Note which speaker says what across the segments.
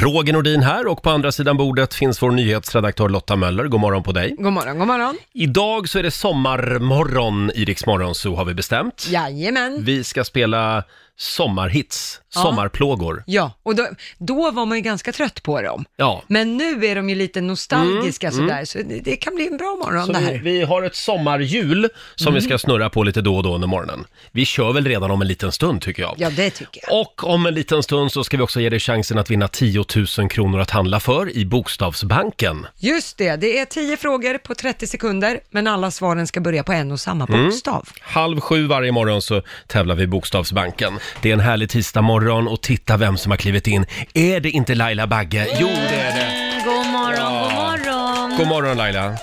Speaker 1: Roger Nordin här och på andra sidan bordet finns vår nyhetsredaktör Lotta Möller. God morgon på dig.
Speaker 2: God morgon, god morgon.
Speaker 1: Idag så är det sommarmorgon i Rix Morgon Zoo har vi bestämt.
Speaker 2: Jajamän.
Speaker 1: Vi ska spela sommarhits,
Speaker 2: Ja.
Speaker 1: sommarplågor.
Speaker 2: Ja, och då, då var man ju ganska trött på dem.
Speaker 1: Ja,
Speaker 2: Men nu är de ju lite nostalgiska sådär, så det, det kan bli en bra morgon
Speaker 1: så
Speaker 2: det
Speaker 1: vi,
Speaker 2: här. Mm.
Speaker 1: vi har ett sommarhjul som vi ska snurra på lite då och då under morgonen. Vi kör väl redan om en liten stund tycker jag.
Speaker 2: Ja, det tycker jag.
Speaker 1: Och om en liten stund så ska vi också ge dig chansen att vinna 10 000 kronor att handla för i Bokstavsbanken.
Speaker 2: Just det, det är tio frågor på 30 sekunder, men alla svaren ska börja på en och samma bokstav.
Speaker 1: Halv sju varje morgon så tävlar vi i Bokstavsbanken. Det är en härlig tisdagmorgon och titta vem som har klivit in. Är det inte Laila Bagge? Jo, det är det.
Speaker 3: God morgon, god morgon.
Speaker 1: God morgon Laila.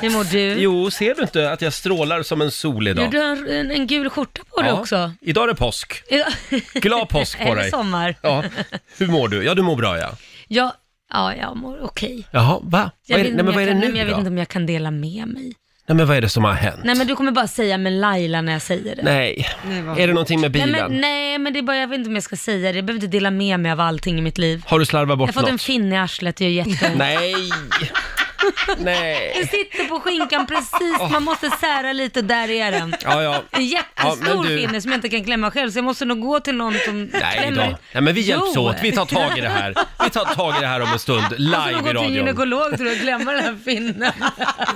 Speaker 3: Hur mår du?
Speaker 1: Jo, ser du inte att jag strålar som en sol
Speaker 3: Jo,
Speaker 1: idag?
Speaker 3: du har en, en gul skjorta på dig
Speaker 1: Ja.
Speaker 3: också.
Speaker 1: Idag är det påsk. Glad påsk på
Speaker 3: Eller
Speaker 1: dig.
Speaker 3: sommar.
Speaker 1: Ja. Hur mår du? Ja, du mår bra ja.
Speaker 3: Ja, ja jag mår okej.
Speaker 1: Jaha, va?
Speaker 3: Jag
Speaker 1: Vad är,
Speaker 3: vet
Speaker 1: det- nej,
Speaker 3: inte om
Speaker 1: men
Speaker 3: jag
Speaker 1: vad är det
Speaker 3: kan- nej, men
Speaker 1: nu
Speaker 3: Jag vet
Speaker 1: då?
Speaker 3: inte om jag kan dela med mig.
Speaker 1: Nej, men vad är det som har hänt?
Speaker 3: Nej, men du kommer bara säga med Laila när jag säger det.
Speaker 1: Nej.
Speaker 2: Nej, vad-
Speaker 1: Är det någonting med
Speaker 3: Nej,
Speaker 1: bilen?
Speaker 3: men, nej, men det är bara, jag vet inte om jag ska säga det. Jag behöver inte dela med mig av allting i mitt liv.
Speaker 1: Har du slarvat
Speaker 3: Jag har
Speaker 1: bort
Speaker 3: fått en
Speaker 1: något?
Speaker 3: finne i arslet, det gör jätteont.
Speaker 1: Nej. Nej.
Speaker 3: Den sitter på skinkan precis, man måste sära lite och där är den.
Speaker 1: Ja, ja.
Speaker 3: En
Speaker 1: Ja, men
Speaker 3: jättestor
Speaker 1: du-
Speaker 3: finne som jag inte kan klämma själv, så jag måste nog gå till någon som
Speaker 1: Nej
Speaker 3: klämmer.
Speaker 1: då. Nej men vi hjälps
Speaker 3: Jo.
Speaker 1: åt. Vi tar tag i det här. Vi tar tag i det här om en stund.
Speaker 3: Jag ska nog
Speaker 1: Live i
Speaker 3: gå till en
Speaker 1: radion.
Speaker 3: gynekolog tror jag och klämma den här finnen.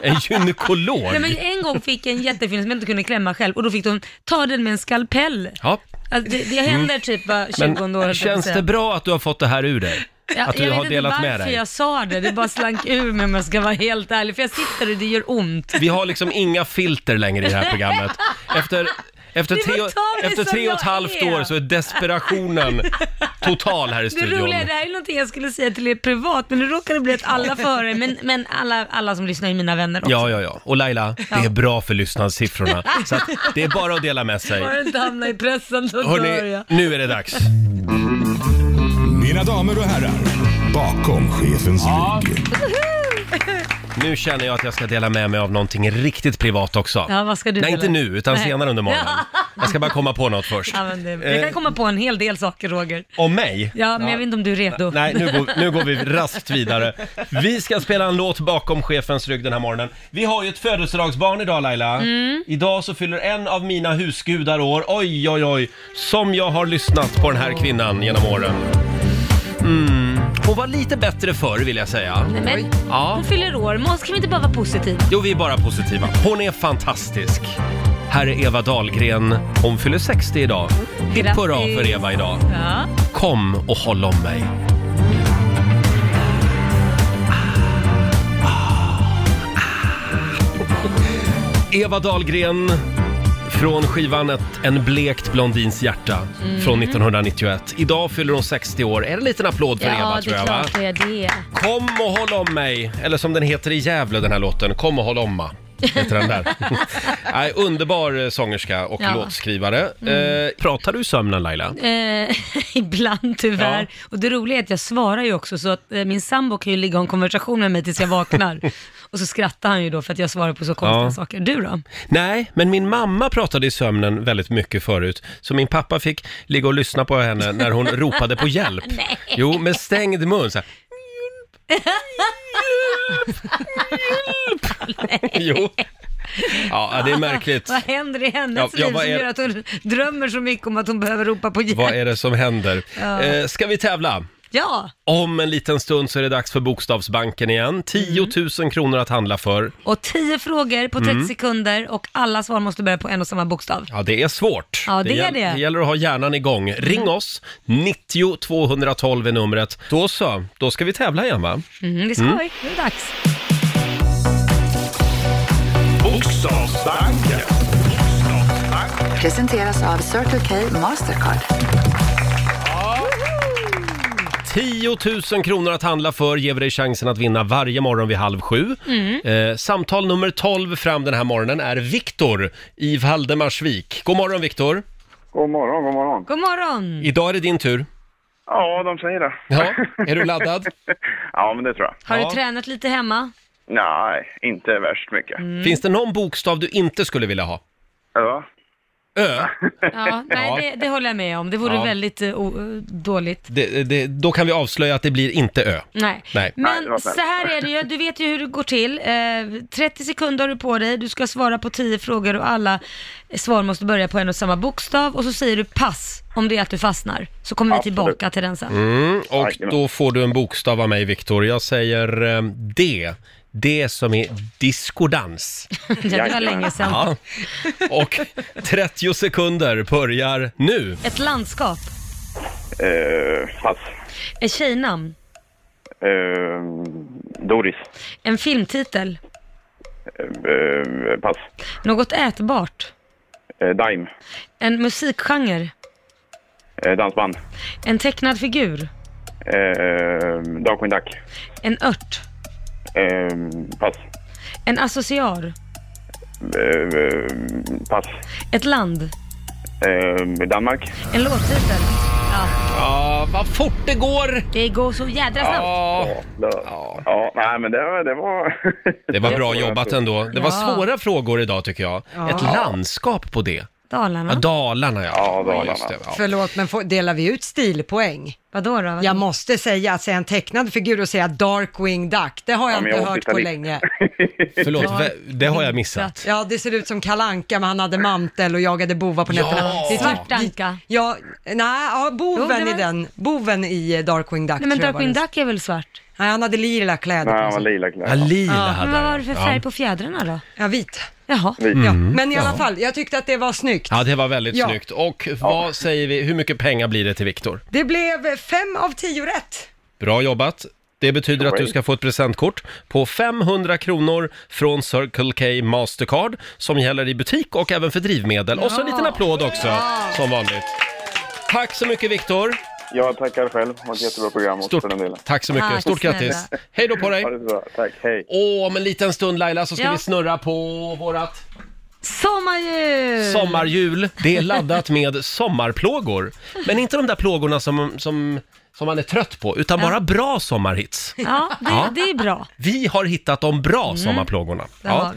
Speaker 1: En gynekolog.
Speaker 3: Nej, men en gång fick jag en jättefinne som jag inte kunde klämma själv och då fick de ta den med en skalpell.
Speaker 1: Ja. Mm.
Speaker 3: Alltså, det, det händer typ var 20 år. höll jag på
Speaker 1: Men
Speaker 3: att
Speaker 1: känns
Speaker 3: säga.
Speaker 1: det bra att du har fått det här ur dig?
Speaker 3: Ja,
Speaker 1: Att du
Speaker 3: jag
Speaker 1: har
Speaker 3: vet inte
Speaker 1: delat
Speaker 3: varför
Speaker 1: med dig?
Speaker 3: jag sa det, det bara slank ur mig om jag ska vara helt ärlig. För jag sitter och det gör ont.
Speaker 1: Vi har liksom inga filter längre i det här programmet. Efter, efter,
Speaker 3: Ni får
Speaker 1: tre,
Speaker 3: ta mig
Speaker 1: efter
Speaker 3: som
Speaker 1: tre och ett
Speaker 3: jag
Speaker 1: halvt
Speaker 3: är.
Speaker 1: år så är desperationen total här i
Speaker 3: Det
Speaker 1: studion.
Speaker 3: roliga är, det här är någonting jag skulle säga till er privat, men nu råkar det bli att alla före, men, men alla, alla som lyssnar är mina vänner också.
Speaker 1: Ja, ja, ja. Och Laila, det är bra för lyssnarsiffrorna. Så att det är bara att dela med sig.
Speaker 3: Bara inte hamna i pressen, då dör
Speaker 1: Hörni,
Speaker 3: jag.
Speaker 1: nu är det dags.
Speaker 4: Mina damer och herrar, bakom chefens rygg.
Speaker 1: Nu känner jag att jag ska dela med mig av någonting riktigt privat också.
Speaker 3: Ja, vad ska du
Speaker 1: Nej,
Speaker 3: dela?
Speaker 1: inte nu, utan
Speaker 3: Nej.
Speaker 1: senare under morgonen. Eh. Jag ska bara komma på något först.
Speaker 3: Ja, men det, jag kan komma på en hel del saker, Roger.
Speaker 1: Om mig?
Speaker 3: Ja, men jag vet inte om du är redo.
Speaker 1: Nej, nu går, nu går vi raskt vidare. Vi ska spela en låt bakom chefens rygg den här morgonen. Vi har ju ett födelsedagsbarn idag Laila.
Speaker 3: Mm.
Speaker 1: Idag så fyller en av mina husgudar år. Oj, oj, oj. Som jag har lyssnat på den här kvinnan genom åren. Mm. Hon var lite bättre förr vill jag säga.
Speaker 3: Men
Speaker 1: Ja.
Speaker 3: hon fyller år, men ska vi inte bara vara positiva?
Speaker 1: Jo, vi är bara positiva. Hon är fantastisk. Här är Eva Dahlgren. Hon fyller 60 idag. Hipp
Speaker 3: Grattis.
Speaker 1: hurra för Eva idag.
Speaker 3: Ja.
Speaker 1: Kom och håll om mig. Eva Dahlgren från skivan ett, En blekt blondins hjärta
Speaker 3: Mm.
Speaker 1: från 1991. Idag fyller hon 60 år. Är det en liten applåd för Eva
Speaker 3: det
Speaker 1: tror
Speaker 3: är
Speaker 1: jag va?
Speaker 3: klart det är det.
Speaker 1: Kom och håll om mig, eller som den heter i Gävle den här låten, Kom och håll omma. Heter den där. Nej, underbar eh, sångerska och
Speaker 3: Ja. Mm.
Speaker 1: låtskrivare. Eh, pratar du i sömnen Laila?
Speaker 3: Eh, ibland tyvärr. Och det roliga är att jag svarar ju också, så att eh, min sambo kan ju ligga och ha en konversation med mig tills jag vaknar. och så skrattar han ju då för att jag svarar på så konstiga
Speaker 1: Ja.
Speaker 3: saker. Du då?
Speaker 1: Nej, men min mamma pratade i sömnen väldigt mycket förut. Så min pappa fick ligga och lyssna på henne när hon ropade på hjälp. Jo, med stängd mun så här. Hjälp! Hjälp! Hjälp! Jo. Ja, det är märkligt.
Speaker 3: Vad händer i hennes
Speaker 1: Ja, ja,
Speaker 3: liv
Speaker 1: vad
Speaker 3: som
Speaker 1: är-
Speaker 3: gör att hon drömmer så mycket om att hon behöver ropa på hjälp?
Speaker 1: Vad är det som händer?
Speaker 3: Ja.
Speaker 1: Eh, ska vi tävla?
Speaker 3: Ja,
Speaker 1: Om en liten stund så är det dags för Bokstavsbanken igen. 10 000 kronor att handla för.
Speaker 3: och tio frågor på
Speaker 1: Mm.
Speaker 3: 30 sekunder och alla svar måste börja på en och samma bokstav.
Speaker 1: Ja, det är svårt.
Speaker 3: Ja, det är
Speaker 1: gäll-
Speaker 3: det.
Speaker 1: Det gäller att ha hjärnan igång. Ring oss! 90 212 är numret. Då så, då ska vi tävla igen va?
Speaker 3: Mm, det är skoj, nu är det dags.
Speaker 4: Bokstavsbanken.
Speaker 5: Presenteras av Circle K Mastercard.
Speaker 1: 10 000 kronor att handla för ger vi dig chansen att vinna varje morgon vid halv sju.
Speaker 3: Mm.
Speaker 1: Eh, samtal nummer 12 fram den här morgonen är Viktor i Valdemarsvik. God morgon Viktor!
Speaker 6: God morgon, god morgon.
Speaker 3: God morgon!
Speaker 1: Idag är det din tur.
Speaker 6: Ja, de säger det.
Speaker 1: Ja, är du laddad?
Speaker 6: ja, men det tror jag.
Speaker 3: Har
Speaker 1: Ja.
Speaker 3: du tränat lite hemma?
Speaker 6: Nej, inte värst mycket.
Speaker 1: Mm.
Speaker 3: Mm.
Speaker 1: Finns det någon bokstav du inte skulle vilja ha?
Speaker 6: Ja.
Speaker 1: Ö.
Speaker 3: Ja, nej,
Speaker 1: Ja.
Speaker 3: Det, det håller jag med om. Det vore
Speaker 1: Ja.
Speaker 3: väldigt eh, o- eh, dåligt.
Speaker 1: Det, det, då kan vi avslöja att det blir inte Ö.
Speaker 3: Nej.
Speaker 1: Nej.
Speaker 6: Nej, det var
Speaker 3: Men
Speaker 6: snällt.
Speaker 3: så här är det ju, du vet ju hur det går till. Eh, 30 sekunder har du på dig, du ska svara på 10 frågor och alla svar måste börja på en och samma bokstav och så säger du pass om det är att du fastnar. Så kommer vi
Speaker 6: Absolut.
Speaker 3: tillbaka till den sen.
Speaker 1: Mm, och
Speaker 6: Jajamän.
Speaker 1: då får du en bokstav av mig, Viktor. Jag säger eh, D. D som är diskodans.
Speaker 3: Ja, det var
Speaker 6: Jajamän.
Speaker 3: länge sedan.
Speaker 1: Ja. Och 30 sekunder börjar nu.
Speaker 3: Ett landskap,
Speaker 6: Eh, pass.
Speaker 3: ett tjejnamn,
Speaker 6: Eh, Doris.
Speaker 3: en filmtitel,
Speaker 6: Eh, pass.
Speaker 3: något ätbart,
Speaker 6: Eh, Dime.
Speaker 3: en musikgenre,
Speaker 6: Eh, dansband.
Speaker 3: en tecknad figur,
Speaker 6: Eh, Darkwing Duck.
Speaker 3: en ört,
Speaker 6: Eh, pass.
Speaker 3: en associar,
Speaker 6: Eh, eh, pass.
Speaker 3: ett land,
Speaker 6: Eh, Danmark.
Speaker 3: en låttitel. Ja,
Speaker 1: Ja, vad fort det går!
Speaker 3: det går så jädra snabbt.
Speaker 1: Ja,
Speaker 6: Ja. ja. Nej, men det, var- det var...
Speaker 1: det var bra jobbat ändå. Det var
Speaker 3: Ja.
Speaker 1: svåra frågor idag tycker jag. Ett landskap på det.
Speaker 3: Dalarna.
Speaker 1: Ja, Dalarna ja.
Speaker 6: Ja, Dalarna.
Speaker 1: just det, ja.
Speaker 2: Förlåt, men får, delar vi ut stilpoäng?
Speaker 3: Vadå då? Vad-
Speaker 2: Jag måste säga att säga en tecknad figur och säga Darkwing Duck, det har jag
Speaker 6: Ja, men
Speaker 2: inte
Speaker 6: jag
Speaker 2: hört
Speaker 6: åsyftar
Speaker 2: på
Speaker 6: det.
Speaker 2: länge.
Speaker 1: Förlåt, vä- det har jag missat.
Speaker 2: Ja, det ser ut som kalanka men han hade mantel och jagade bovar på
Speaker 1: Ja.
Speaker 2: nätterna. Det är typ-
Speaker 3: Svartanka.
Speaker 2: Ja, nej, ja,
Speaker 3: Jo, det
Speaker 2: boven
Speaker 3: var-
Speaker 2: i den. Boven i eh, Darkwing Duck
Speaker 3: Nej men
Speaker 2: tror jag
Speaker 3: Darkwing
Speaker 2: var det.
Speaker 3: Duck är väl svart?
Speaker 2: Nej, han hade lila kläder
Speaker 6: Nej,
Speaker 2: på
Speaker 6: han var
Speaker 2: sig.
Speaker 6: lila
Speaker 1: Ja,
Speaker 6: kläder.
Speaker 1: lila
Speaker 3: men
Speaker 1: hade
Speaker 3: vad
Speaker 1: jag.
Speaker 3: var det för färg
Speaker 1: ja.
Speaker 3: på fjädrarna då?
Speaker 2: Ja, vit.
Speaker 3: Jaha.
Speaker 1: Mm.
Speaker 2: Ja, men i alla fall, jag tyckte att det var snyggt.
Speaker 1: ja, det var väldigt
Speaker 2: Ja.
Speaker 1: snyggt. Och vad säger vi, hur mycket pengar blir det till Viktor?
Speaker 2: Det blev fem av tio rätt.
Speaker 1: Bra jobbat. Det betyder att du ska få ett presentkort på 500 kronor från Circle K Mastercard som gäller i butik och även för drivmedel. Och så en liten applåd också, som vanligt. Tack så mycket Viktor!
Speaker 6: Jag tackar själv. Det var ett jättebra program också
Speaker 1: Stort
Speaker 6: för den delen.
Speaker 1: tack så mycket,
Speaker 3: Tack
Speaker 1: stort grattis!
Speaker 3: snälla.
Speaker 1: Hej då på dig!
Speaker 6: Ha det så bra. Tack. Hej.
Speaker 1: Och om en liten stund Laila så ska
Speaker 3: Ja.
Speaker 1: vi snurra på vårat
Speaker 3: Sommarljus!
Speaker 1: sommarhjul. Det är laddat med sommarplågor. Men inte de där plågorna som, som, som man är trött på, utan bara bra sommarhits.
Speaker 3: Ja, det,
Speaker 1: Ja.
Speaker 3: det är bra.
Speaker 1: Vi har hittat de bra sommarplågorna.
Speaker 3: det Mm. har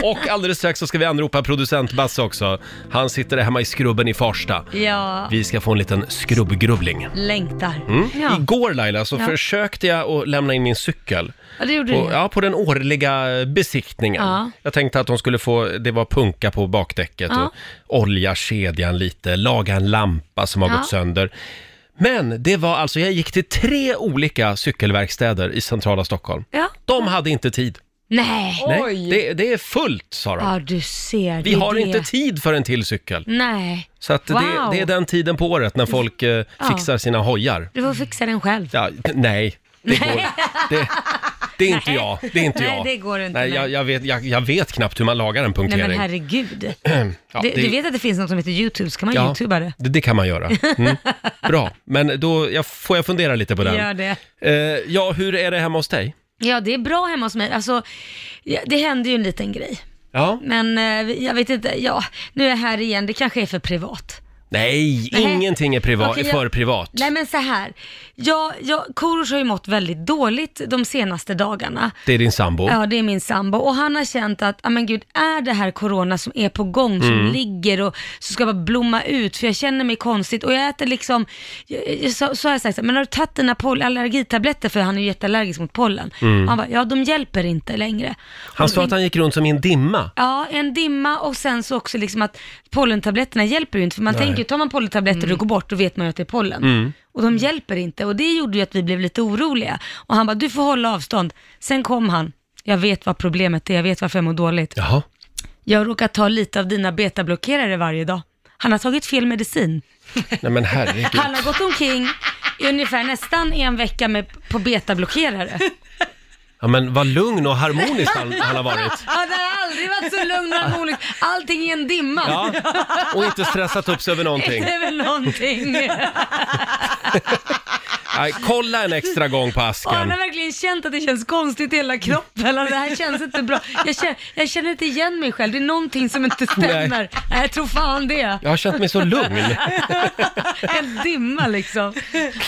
Speaker 1: Eh, och alldeles strax så ska vi anropa producent Basse också. Han sitter där hemma i skrubben i Farsta.
Speaker 3: Ja,
Speaker 1: Vi ska få en liten skrubbgrubbling.
Speaker 3: längtar.
Speaker 1: Mm.
Speaker 3: Ja.
Speaker 1: Igår Laila så
Speaker 3: Ja.
Speaker 1: försökte jag att lämna in min cykel.
Speaker 3: ja, det gjorde
Speaker 1: På,
Speaker 3: du.
Speaker 1: ja, på den årliga besiktningen.
Speaker 3: Ja.
Speaker 1: Jag tänkte att de skulle få, det var punka på bakdäcket
Speaker 3: Ja.
Speaker 1: och olja kedjan lite, laga en lampa som har
Speaker 3: Ja.
Speaker 1: gått sönder. Men det var alltså, jag gick till tre olika cykelverkstäder i centrala Stockholm.
Speaker 3: Ja.
Speaker 1: De hade inte tid.
Speaker 3: Nej.
Speaker 1: Nej, det, det är fullt sa de.
Speaker 3: Ja, du ser.
Speaker 1: Vi
Speaker 3: det är
Speaker 1: har
Speaker 3: det.
Speaker 1: inte tid för en till cykel.
Speaker 3: Nej,
Speaker 1: Så att det,
Speaker 3: Wow.
Speaker 1: det är den tiden på året när folk eh, fixar sina hojar.
Speaker 3: du får fixa den själv.
Speaker 1: Ja, nej, det går det, det är inte jag. Det är inte
Speaker 3: Nej,
Speaker 1: jag.
Speaker 3: det går inte,
Speaker 1: Nej,
Speaker 3: nej.
Speaker 1: jag, jag, vet, jag, jag vet knappt hur man lagar en
Speaker 3: Nej
Speaker 1: punktering. Mm.
Speaker 3: men herregud.
Speaker 1: Ja,
Speaker 3: du,
Speaker 1: det-
Speaker 3: du vet att det finns något som heter YouTube, ska man
Speaker 1: Ja,
Speaker 3: youtuba det?
Speaker 1: det, det kan man göra. Mm. Bra, men då jag, får jag fundera lite på den.
Speaker 3: Gör det.
Speaker 1: Eh, ja, hur är det hemma hos dig?
Speaker 3: Ja, det är bra hemma hos mig. Alltså, ja, det hände ju en liten grej.
Speaker 1: Ja.
Speaker 3: Men eh, jag vet inte, ja, nu är jag här igen, det kanske är för privat.
Speaker 1: Nej,
Speaker 3: Nej.
Speaker 1: ingenting är priva-
Speaker 3: Okej, jag-
Speaker 1: för privat.
Speaker 3: Nej men så här, jag, jag, Korosh har ju mått väldigt dåligt de senaste dagarna.
Speaker 1: Det är din sambo.
Speaker 3: Ja, det är min sambo. Och han har känt att, ja men gud, är det här corona som är på gång, som
Speaker 1: Mm.
Speaker 3: ligger och så ska bara blomma ut, för jag känner mig konstigt. Och jag äter liksom, jag, jag, så, så har jag sagt så här, men har du tagit dina poll- allergitabletter? För han är ju jätteallergisk mot pollen. Han bara, ja de hjälper inte längre.
Speaker 1: Mm. Han sa att han gick runt som i en dimma.
Speaker 3: Ja, en dimma och sen så också liksom att pollentabletterna hjälper ju inte. För man tänker ju, tar man pollentabletter
Speaker 1: Mm.
Speaker 3: och det går bort, då vet man ju att det är pollen. Och de hjälper inte och det gjorde ju att vi blev lite oroliga. Och han bara, du får hålla avstånd. Sen kom han, jag vet vad problemet är, jag vet varför jag mår dåligt.
Speaker 1: Jaha.
Speaker 3: Jag råkar ta lite av dina betablockerare varje dag. Han har tagit fel medicin.
Speaker 1: Nej men herregud.
Speaker 3: Han har gått omkring i ungefär nästan en vecka med, på betablockerare.
Speaker 1: Ja, men vad lugn och harmonisk han, han har varit.
Speaker 3: Han har aldrig varit så lugn och harmonisk. Allting är en dimma.
Speaker 1: Ja. Och inte stressat upp sig över någonting.
Speaker 3: Det är väl någonting.
Speaker 1: Nej, kolla en extra gång på
Speaker 3: Och han
Speaker 1: asken.
Speaker 3: har verkligen känt att det känns konstigt i hela kroppen. Alltså, det här känns inte bra. Jag känner, jag känner inte igen mig själv. Det är någonting som inte stämmer.
Speaker 1: Nej.
Speaker 3: Nej. Jag tror fan det.
Speaker 1: Jag har känt mig så lugn.
Speaker 3: En dimma liksom.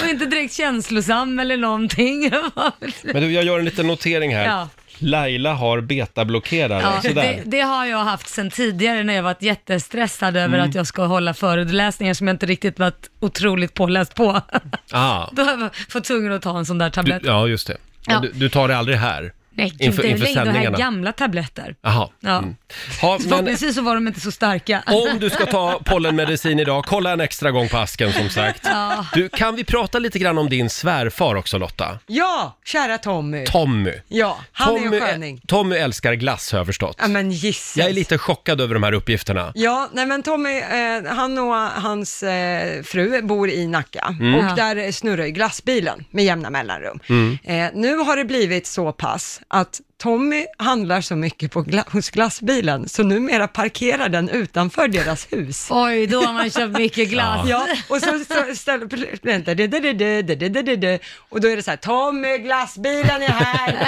Speaker 3: Och inte direkt känslosam eller någonting.
Speaker 1: Men du, jag gör en liten notering här.
Speaker 3: Ja.
Speaker 1: Laila har betablockerare.
Speaker 3: Ja, det,
Speaker 1: Sådär.
Speaker 3: det har jag haft sen tidigare när jag varit jättestressad över
Speaker 1: Mm.
Speaker 3: att jag ska hålla föreläsningar som jag inte riktigt varit otroligt påläst på.
Speaker 1: Ah,
Speaker 3: Då har jag fått tvungen att ta en sån där
Speaker 1: du,
Speaker 3: tablett.
Speaker 1: ja, just det. Men
Speaker 3: Ja.
Speaker 1: Du, du tar det aldrig här?
Speaker 3: Nej, gud,
Speaker 1: inför-
Speaker 3: det är
Speaker 1: inför
Speaker 3: länge. De här
Speaker 1: sändningarna.
Speaker 3: gamla tabletter.
Speaker 1: Jaha.
Speaker 3: Ja.
Speaker 1: Mm. Ha, men
Speaker 3: Förhoppningsvis så var de inte så starka.
Speaker 1: om du ska ta pollenmedicin idag, kolla en extra gång på asken som sagt.
Speaker 3: Ja.
Speaker 1: Du, kan vi prata lite grann om din svärfar också Lotta?
Speaker 2: Ja, kära Tommy.
Speaker 1: Tommy.
Speaker 2: Ja, han är
Speaker 1: Tommy,
Speaker 2: en sköning.
Speaker 1: Tommy älskar glass har jag förstått.
Speaker 2: Ja, men gissas.
Speaker 1: Jag är lite chockad över de här uppgifterna.
Speaker 2: Ja, nej men Tommy, eh, han och hans eh, fru bor i Nacka och där snurrar ju glassbilen med jämna mellanrum. Eh, nu har det blivit så pass att Tommy handlar så mycket på gla- hos glassbilen så numera parkerar den utanför deras hus.
Speaker 3: Oj, då har man köpt mycket glass.
Speaker 2: Ja, och så så ställer vänta, det, det, det, det, det, det, det, det, det. och då är det så här, Tommy, glassbilen är här.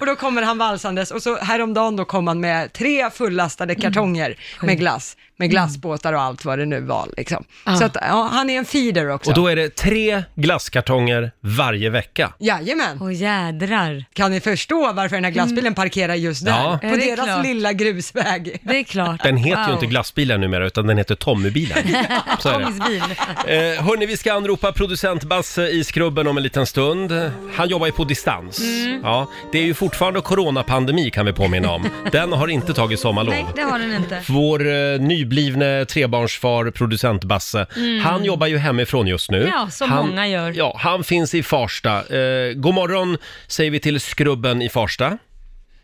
Speaker 2: och då kommer han valsandes och så häromdagen då kom han med tre fullastade
Speaker 3: Mm.
Speaker 2: kartonger med glass, med glassbåtar och allt vad det nu var liksom.
Speaker 3: Ah.
Speaker 2: Så att, ja, han är en feeder också.
Speaker 1: Och då är det tre glasskartonger varje vecka.
Speaker 2: Jajamän,
Speaker 3: Åh jädrar.
Speaker 2: kan ni förstå varför den här glassbilen parkerar just där?
Speaker 1: Ja.
Speaker 3: Är
Speaker 2: På
Speaker 3: Mm. det
Speaker 2: deras
Speaker 3: klart?
Speaker 2: lilla grusväg.
Speaker 3: Det är klart.
Speaker 1: Den heter
Speaker 3: Wow.
Speaker 1: ju inte glassbilen numera, utan den heter Tommybilen. Så är det.
Speaker 3: Ångestbil.
Speaker 1: Eh, hörni, vi ska anropa producent Basse i skrubben om en liten stund. Han jobbar ju på distans.
Speaker 3: Mm.
Speaker 1: Ja, det är ju fortfarande coronapandemi kan vi påminna om. Den har inte tagit sommarlov.
Speaker 3: Nej, det har den inte.
Speaker 1: Vår eh, nyblivne trebarnsfar, producent Basse, han jobbar ju hemifrån just nu.
Speaker 3: Mm. Ja, som
Speaker 1: han,
Speaker 3: många gör.
Speaker 1: Ja, han finns i Farsta. Eh, god morgon säger vi till skrubben i Farsta.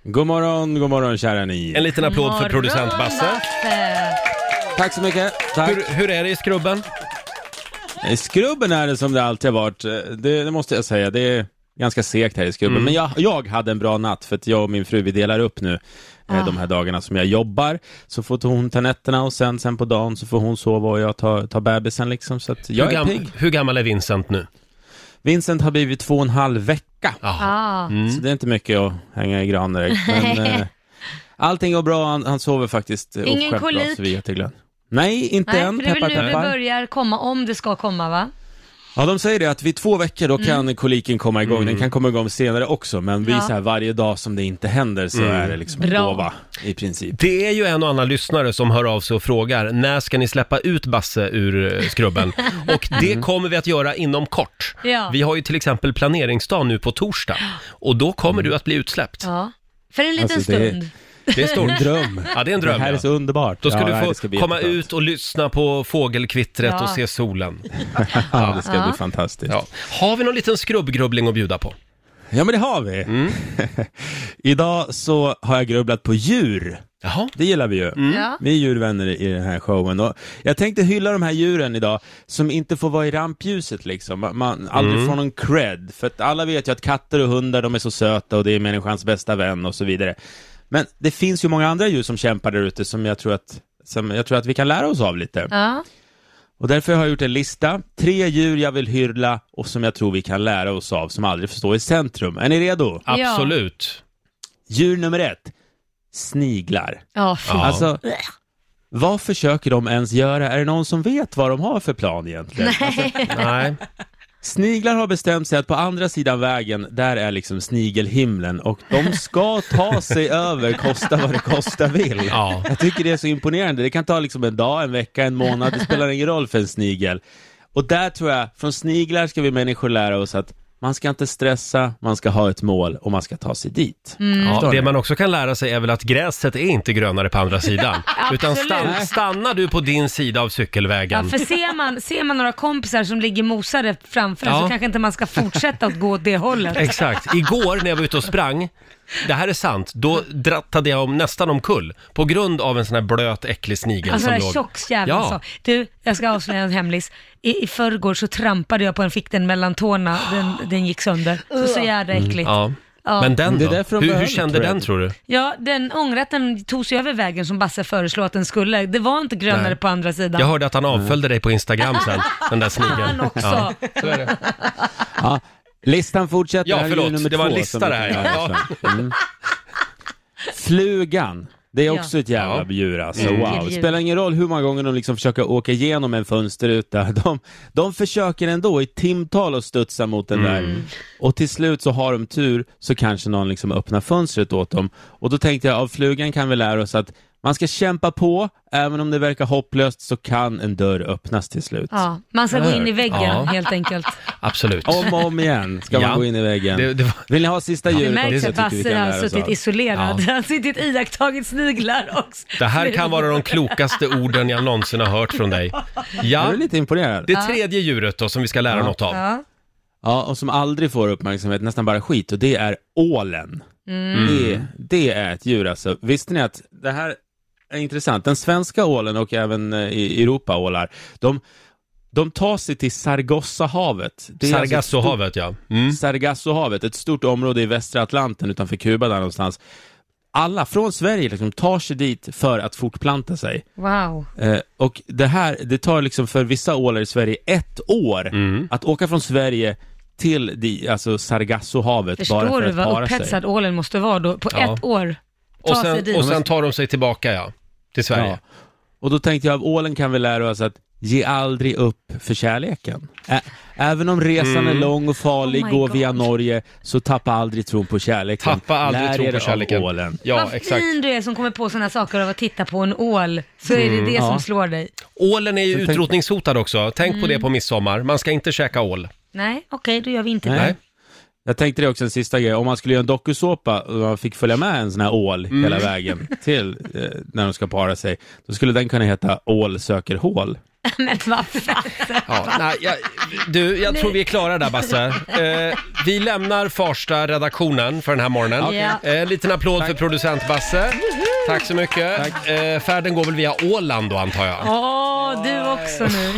Speaker 7: God morgon, god morgon kära ni.
Speaker 1: En liten applåd för producent Basse.
Speaker 3: Basse.
Speaker 7: Tack så mycket. Tack.
Speaker 1: Hur, hur är det i skrubben?
Speaker 7: Eh, Skrubben är det som det alltid har varit. Eh, Det, det måste jag säga. Det är ganska segt här i skrubben.
Speaker 3: Mm.
Speaker 7: Men jag, jag hade en bra natt för att jag och min fru vi delar upp nu eh,
Speaker 3: Ah.
Speaker 7: de här dagarna som jag jobbar. Så får hon ta nätterna och sen, sen på dagen så får hon sova och jag tar, tar bebisen liksom. Så att jag
Speaker 1: hur,
Speaker 7: är
Speaker 1: gam-
Speaker 7: pigg.
Speaker 1: hur gammal är Vincent nu?
Speaker 7: Vincent har blivit två och en halv vecka.
Speaker 3: Ja.
Speaker 1: Mm.
Speaker 7: Så det är inte mycket att hänga i gran direkt. Men, eh, allting går bra. Han, han sover faktiskt. eh,
Speaker 3: Ingen
Speaker 7: oförskämt bra,
Speaker 3: kolik?
Speaker 7: Så vi är jätteglada. Nej, inte
Speaker 3: Nej,
Speaker 7: än.
Speaker 3: för det är
Speaker 7: Peppar,
Speaker 3: väl nu det
Speaker 7: peppar.
Speaker 3: börjar komma, om det ska komma va?
Speaker 7: Ja, de säger det att vid två veckor då kan
Speaker 1: Mm.
Speaker 7: koliken komma igång. Den kan komma igång senare också, men
Speaker 3: Ja.
Speaker 7: vi så här, varje dag som det inte händer så är det liksom
Speaker 3: Bra.
Speaker 7: en gåva i princip.
Speaker 1: Det är ju Mm. en och annan lyssnare som hör av sig och frågar när ska ni släppa ut Basse ur eh, skrubben? Och det kommer vi att göra inom kort.
Speaker 3: Ja.
Speaker 1: Vi har ju till exempel planeringsdag nu på torsdag och då kommer
Speaker 7: Mm.
Speaker 1: du att bli utsläppt.
Speaker 3: Ja. För en liten
Speaker 7: Alltså, det-
Speaker 3: stund.
Speaker 1: Det är stort.
Speaker 7: En dröm.
Speaker 1: Ja, det är en dröm.
Speaker 7: det här
Speaker 1: ja.
Speaker 7: är så underbart.
Speaker 1: Då ska
Speaker 7: Ja, nej,
Speaker 1: du
Speaker 7: det
Speaker 1: få
Speaker 7: bli
Speaker 1: komma
Speaker 7: jätteskönt.
Speaker 1: ut och lyssna på fågelkvittret
Speaker 3: Ja.
Speaker 1: och se solen.
Speaker 7: Ja, det ska
Speaker 3: Ja.
Speaker 7: bli fantastiskt.
Speaker 1: Ja. Har vi någon liten skrubbgrubbling att bjuda på?
Speaker 7: Ja, men det har vi.
Speaker 1: Mm.
Speaker 7: Idag så har jag grubblat på djur.
Speaker 1: Jaha.
Speaker 7: Det gillar vi ju.
Speaker 3: Ja.
Speaker 7: Vi är djurvänner i den här showen och jag tänkte hylla de här djuren idag som inte får vara i rampljuset liksom. Man- Man aldrig får någon cred, för att alla vet ju att katter och hundar de är så söta och det är människans bästa vän och så vidare. Men det finns ju många andra djur som kämpar där ute som jag tror att som jag tror att vi kan lära oss av lite.
Speaker 3: Ja.
Speaker 7: Och därför har jag gjort en lista. Tre djur jag vill hylla och som jag tror vi kan lära oss av som aldrig får stå i centrum. Är ni redo?
Speaker 3: Ja.
Speaker 1: Absolut.
Speaker 7: Djur nummer ett. Sniglar.
Speaker 3: Ja, fy.
Speaker 1: Ja.
Speaker 7: Alltså, vad försöker de ens göra? Är det någon som vet vad de har för plan egentligen? Alltså,
Speaker 1: Nej.
Speaker 7: sniglar har bestämt sig att på andra sidan vägen, där är liksom snigelhimlen och de ska ta sig över, kosta vad det kosta vill.
Speaker 1: Ja.
Speaker 7: Jag tycker det är så imponerande. Det kan ta liksom en dag, en vecka, en månad. Det spelar ingen roll för en snigel. Och där tror jag, från sniglar ska vi människor lära oss att man ska inte stressa, man ska ha ett mål och man ska ta sig dit.
Speaker 1: Ja,
Speaker 3: Mm.
Speaker 7: Förstår
Speaker 1: det
Speaker 7: ni?
Speaker 1: man också kan lära sig är väl att gräset är inte grönare på andra sidan. Utan stann,
Speaker 3: Absolut.
Speaker 1: stannar du på din sida av
Speaker 3: Ja,
Speaker 1: cykelvägen.
Speaker 3: för ser man, ser man några kompisar som ligger mosade framför
Speaker 1: Ja.
Speaker 3: så kanske inte man ska fortsätta att gå åt det hållet.
Speaker 1: Exakt. Igår när jag var ute och sprang, det här är sant, då drattade jag om, nästan omkull på grund av en sån här blöt, äcklig snigel
Speaker 3: Alltså
Speaker 1: som
Speaker 3: den
Speaker 1: låg...
Speaker 3: där tjocksjäveln
Speaker 1: Ja.
Speaker 3: sa. Du, jag ska avslöja en hemlis. I, I förrgår så trampade jag på en fick den mellan tårna, den, den gick sönder. Så, så jävla äckligt.
Speaker 1: Mm, Ja.
Speaker 3: Ja.
Speaker 1: Men den
Speaker 7: Det
Speaker 1: då?
Speaker 7: är därför de
Speaker 1: hur, hur
Speaker 7: behöver,
Speaker 1: kände
Speaker 7: tror jag.
Speaker 1: den tror du?
Speaker 3: Ja, den ångrar att den tog sig över vägen som Basse föreslog att den skulle. Det var inte grönare
Speaker 1: Nej.
Speaker 3: på andra sidan.
Speaker 1: Jag hörde att
Speaker 7: Mm.
Speaker 1: han avföljde dig på Instagram sen, den där snigeln.
Speaker 3: Han också.
Speaker 1: Ja.
Speaker 7: Ja, listan fortsätter.
Speaker 1: Ja,
Speaker 7: Här är ju
Speaker 1: förlåt.
Speaker 7: nummer
Speaker 1: Det var en
Speaker 7: två
Speaker 1: lista
Speaker 7: som vi
Speaker 1: det här,
Speaker 7: kan
Speaker 1: ja.
Speaker 7: göra sen. Mm. Flugan. Det är
Speaker 3: Ja.
Speaker 7: också ett jävla
Speaker 1: Ja.
Speaker 7: djur alltså,
Speaker 3: Mm.
Speaker 7: wow.
Speaker 3: Vilket djur.
Speaker 7: Spelar ingen roll hur många gånger de liksom försöker åka igenom en fönsterruta. De, de försöker ändå i timtal att studsa mot den
Speaker 1: Mm.
Speaker 7: där. Och till slut så har de tur så kanske någon liksom öppnar fönstret åt dem. Och då tänkte jag, av flugan kan vi lära oss att man ska kämpa på, även om det verkar hopplöst så kan en dörr öppnas till slut.
Speaker 3: Ja, man ska gå in i väggen
Speaker 1: Ja.
Speaker 3: helt enkelt.
Speaker 1: Absolut.
Speaker 7: Om och om igen ska
Speaker 1: Ja.
Speaker 7: man gå in i väggen.
Speaker 1: Det- det var-
Speaker 7: Vill ni ha sista
Speaker 3: Det
Speaker 7: djuret
Speaker 3: märks
Speaker 7: också,
Speaker 3: att
Speaker 7: tycker vi
Speaker 3: Basse
Speaker 7: kan
Speaker 3: har
Speaker 7: lära oss
Speaker 3: suttit
Speaker 7: av?
Speaker 3: isolerad.
Speaker 1: Ja.
Speaker 3: Han har suttit iakttagit sniglar och
Speaker 1: Det här kan vara de klokaste orden jag någonsin har hört från dig.
Speaker 7: Jag
Speaker 1: Ja,
Speaker 7: är lite imponerad.
Speaker 1: det tredje djuret då som vi ska lära något av.
Speaker 3: Ja.
Speaker 7: Ja, och som aldrig får uppmärksamhet, nästan bara skit, och det är ålen.
Speaker 3: Mm.
Speaker 7: Det, det är ett djur alltså. Visste ni att det här är intressant? Den svenska ålen och även eh, i Europa ålar, de, de tar sig till Sargassohavet. Det är alltså ett stort-
Speaker 1: Sargassohavet ja. Mm.
Speaker 7: Sargassohavet, ett stort område i västra Atlanten utanför Kuba där någonstans. Alla från Sverige liksom tar sig dit för att fortplanta sig.
Speaker 3: Wow.
Speaker 7: Eh, och det här, det tar liksom för vissa ålar i Sverige ett år
Speaker 1: Mm.
Speaker 7: att åka från Sverige till di, alltså Sargassohavet
Speaker 3: Förstår
Speaker 7: bara för
Speaker 3: du
Speaker 7: att
Speaker 3: vad
Speaker 7: para sig.
Speaker 3: upphetsad ålen måste vara då på
Speaker 1: Ja.
Speaker 3: ett år? Ta
Speaker 1: Och
Speaker 3: sig
Speaker 1: sen,
Speaker 3: dit.
Speaker 1: och sen tar de sig tillbaka ja, till Sverige.
Speaker 7: Ja. Och då tänkte jag, av ålen kan vi lära oss att ge aldrig upp för kärleken. Ä- Även om resan
Speaker 1: Mm.
Speaker 7: är lång och farlig,
Speaker 3: Oh my
Speaker 7: gå via
Speaker 3: God.
Speaker 7: Norge, så tappa aldrig tron på kärleken.
Speaker 1: Tappa aldrig
Speaker 7: Lär
Speaker 1: tron
Speaker 7: er
Speaker 1: på
Speaker 7: av
Speaker 1: kärleken.
Speaker 7: ålen.
Speaker 1: Ja,
Speaker 3: Vad
Speaker 1: exakt.
Speaker 3: fin du är som kommer på sådana saker av att titta på en ål. Så är
Speaker 1: Mm,
Speaker 3: det det som
Speaker 7: Ja.
Speaker 3: slår dig.
Speaker 1: Ålen är ju
Speaker 7: tänk-
Speaker 1: utrotningshotad också. Tänk på
Speaker 3: Mm.
Speaker 1: det på midsommar. Man ska inte käka ål.
Speaker 3: Nej, okej, då gör vi inte
Speaker 7: Nej.
Speaker 3: det.
Speaker 7: Jag tänkte det också en sista grej, om man skulle göra en dokusåpa och man fick följa med en sån här ål hela vägen till eh, när de ska para sig, då skulle den kunna heta Ål söker hål.
Speaker 3: Men vad fan.
Speaker 1: Ja, nej, jag, du, jag tror vi är klara där Basse. Eh, vi lämnar Farsta-redaktionen för den här morgonen.
Speaker 3: Okej. Ja.
Speaker 1: Eh, en liten applåd för producent Basse. Tack så mycket. Eh, färden går väl via Åland då antar jag.
Speaker 3: Åh, du också nu.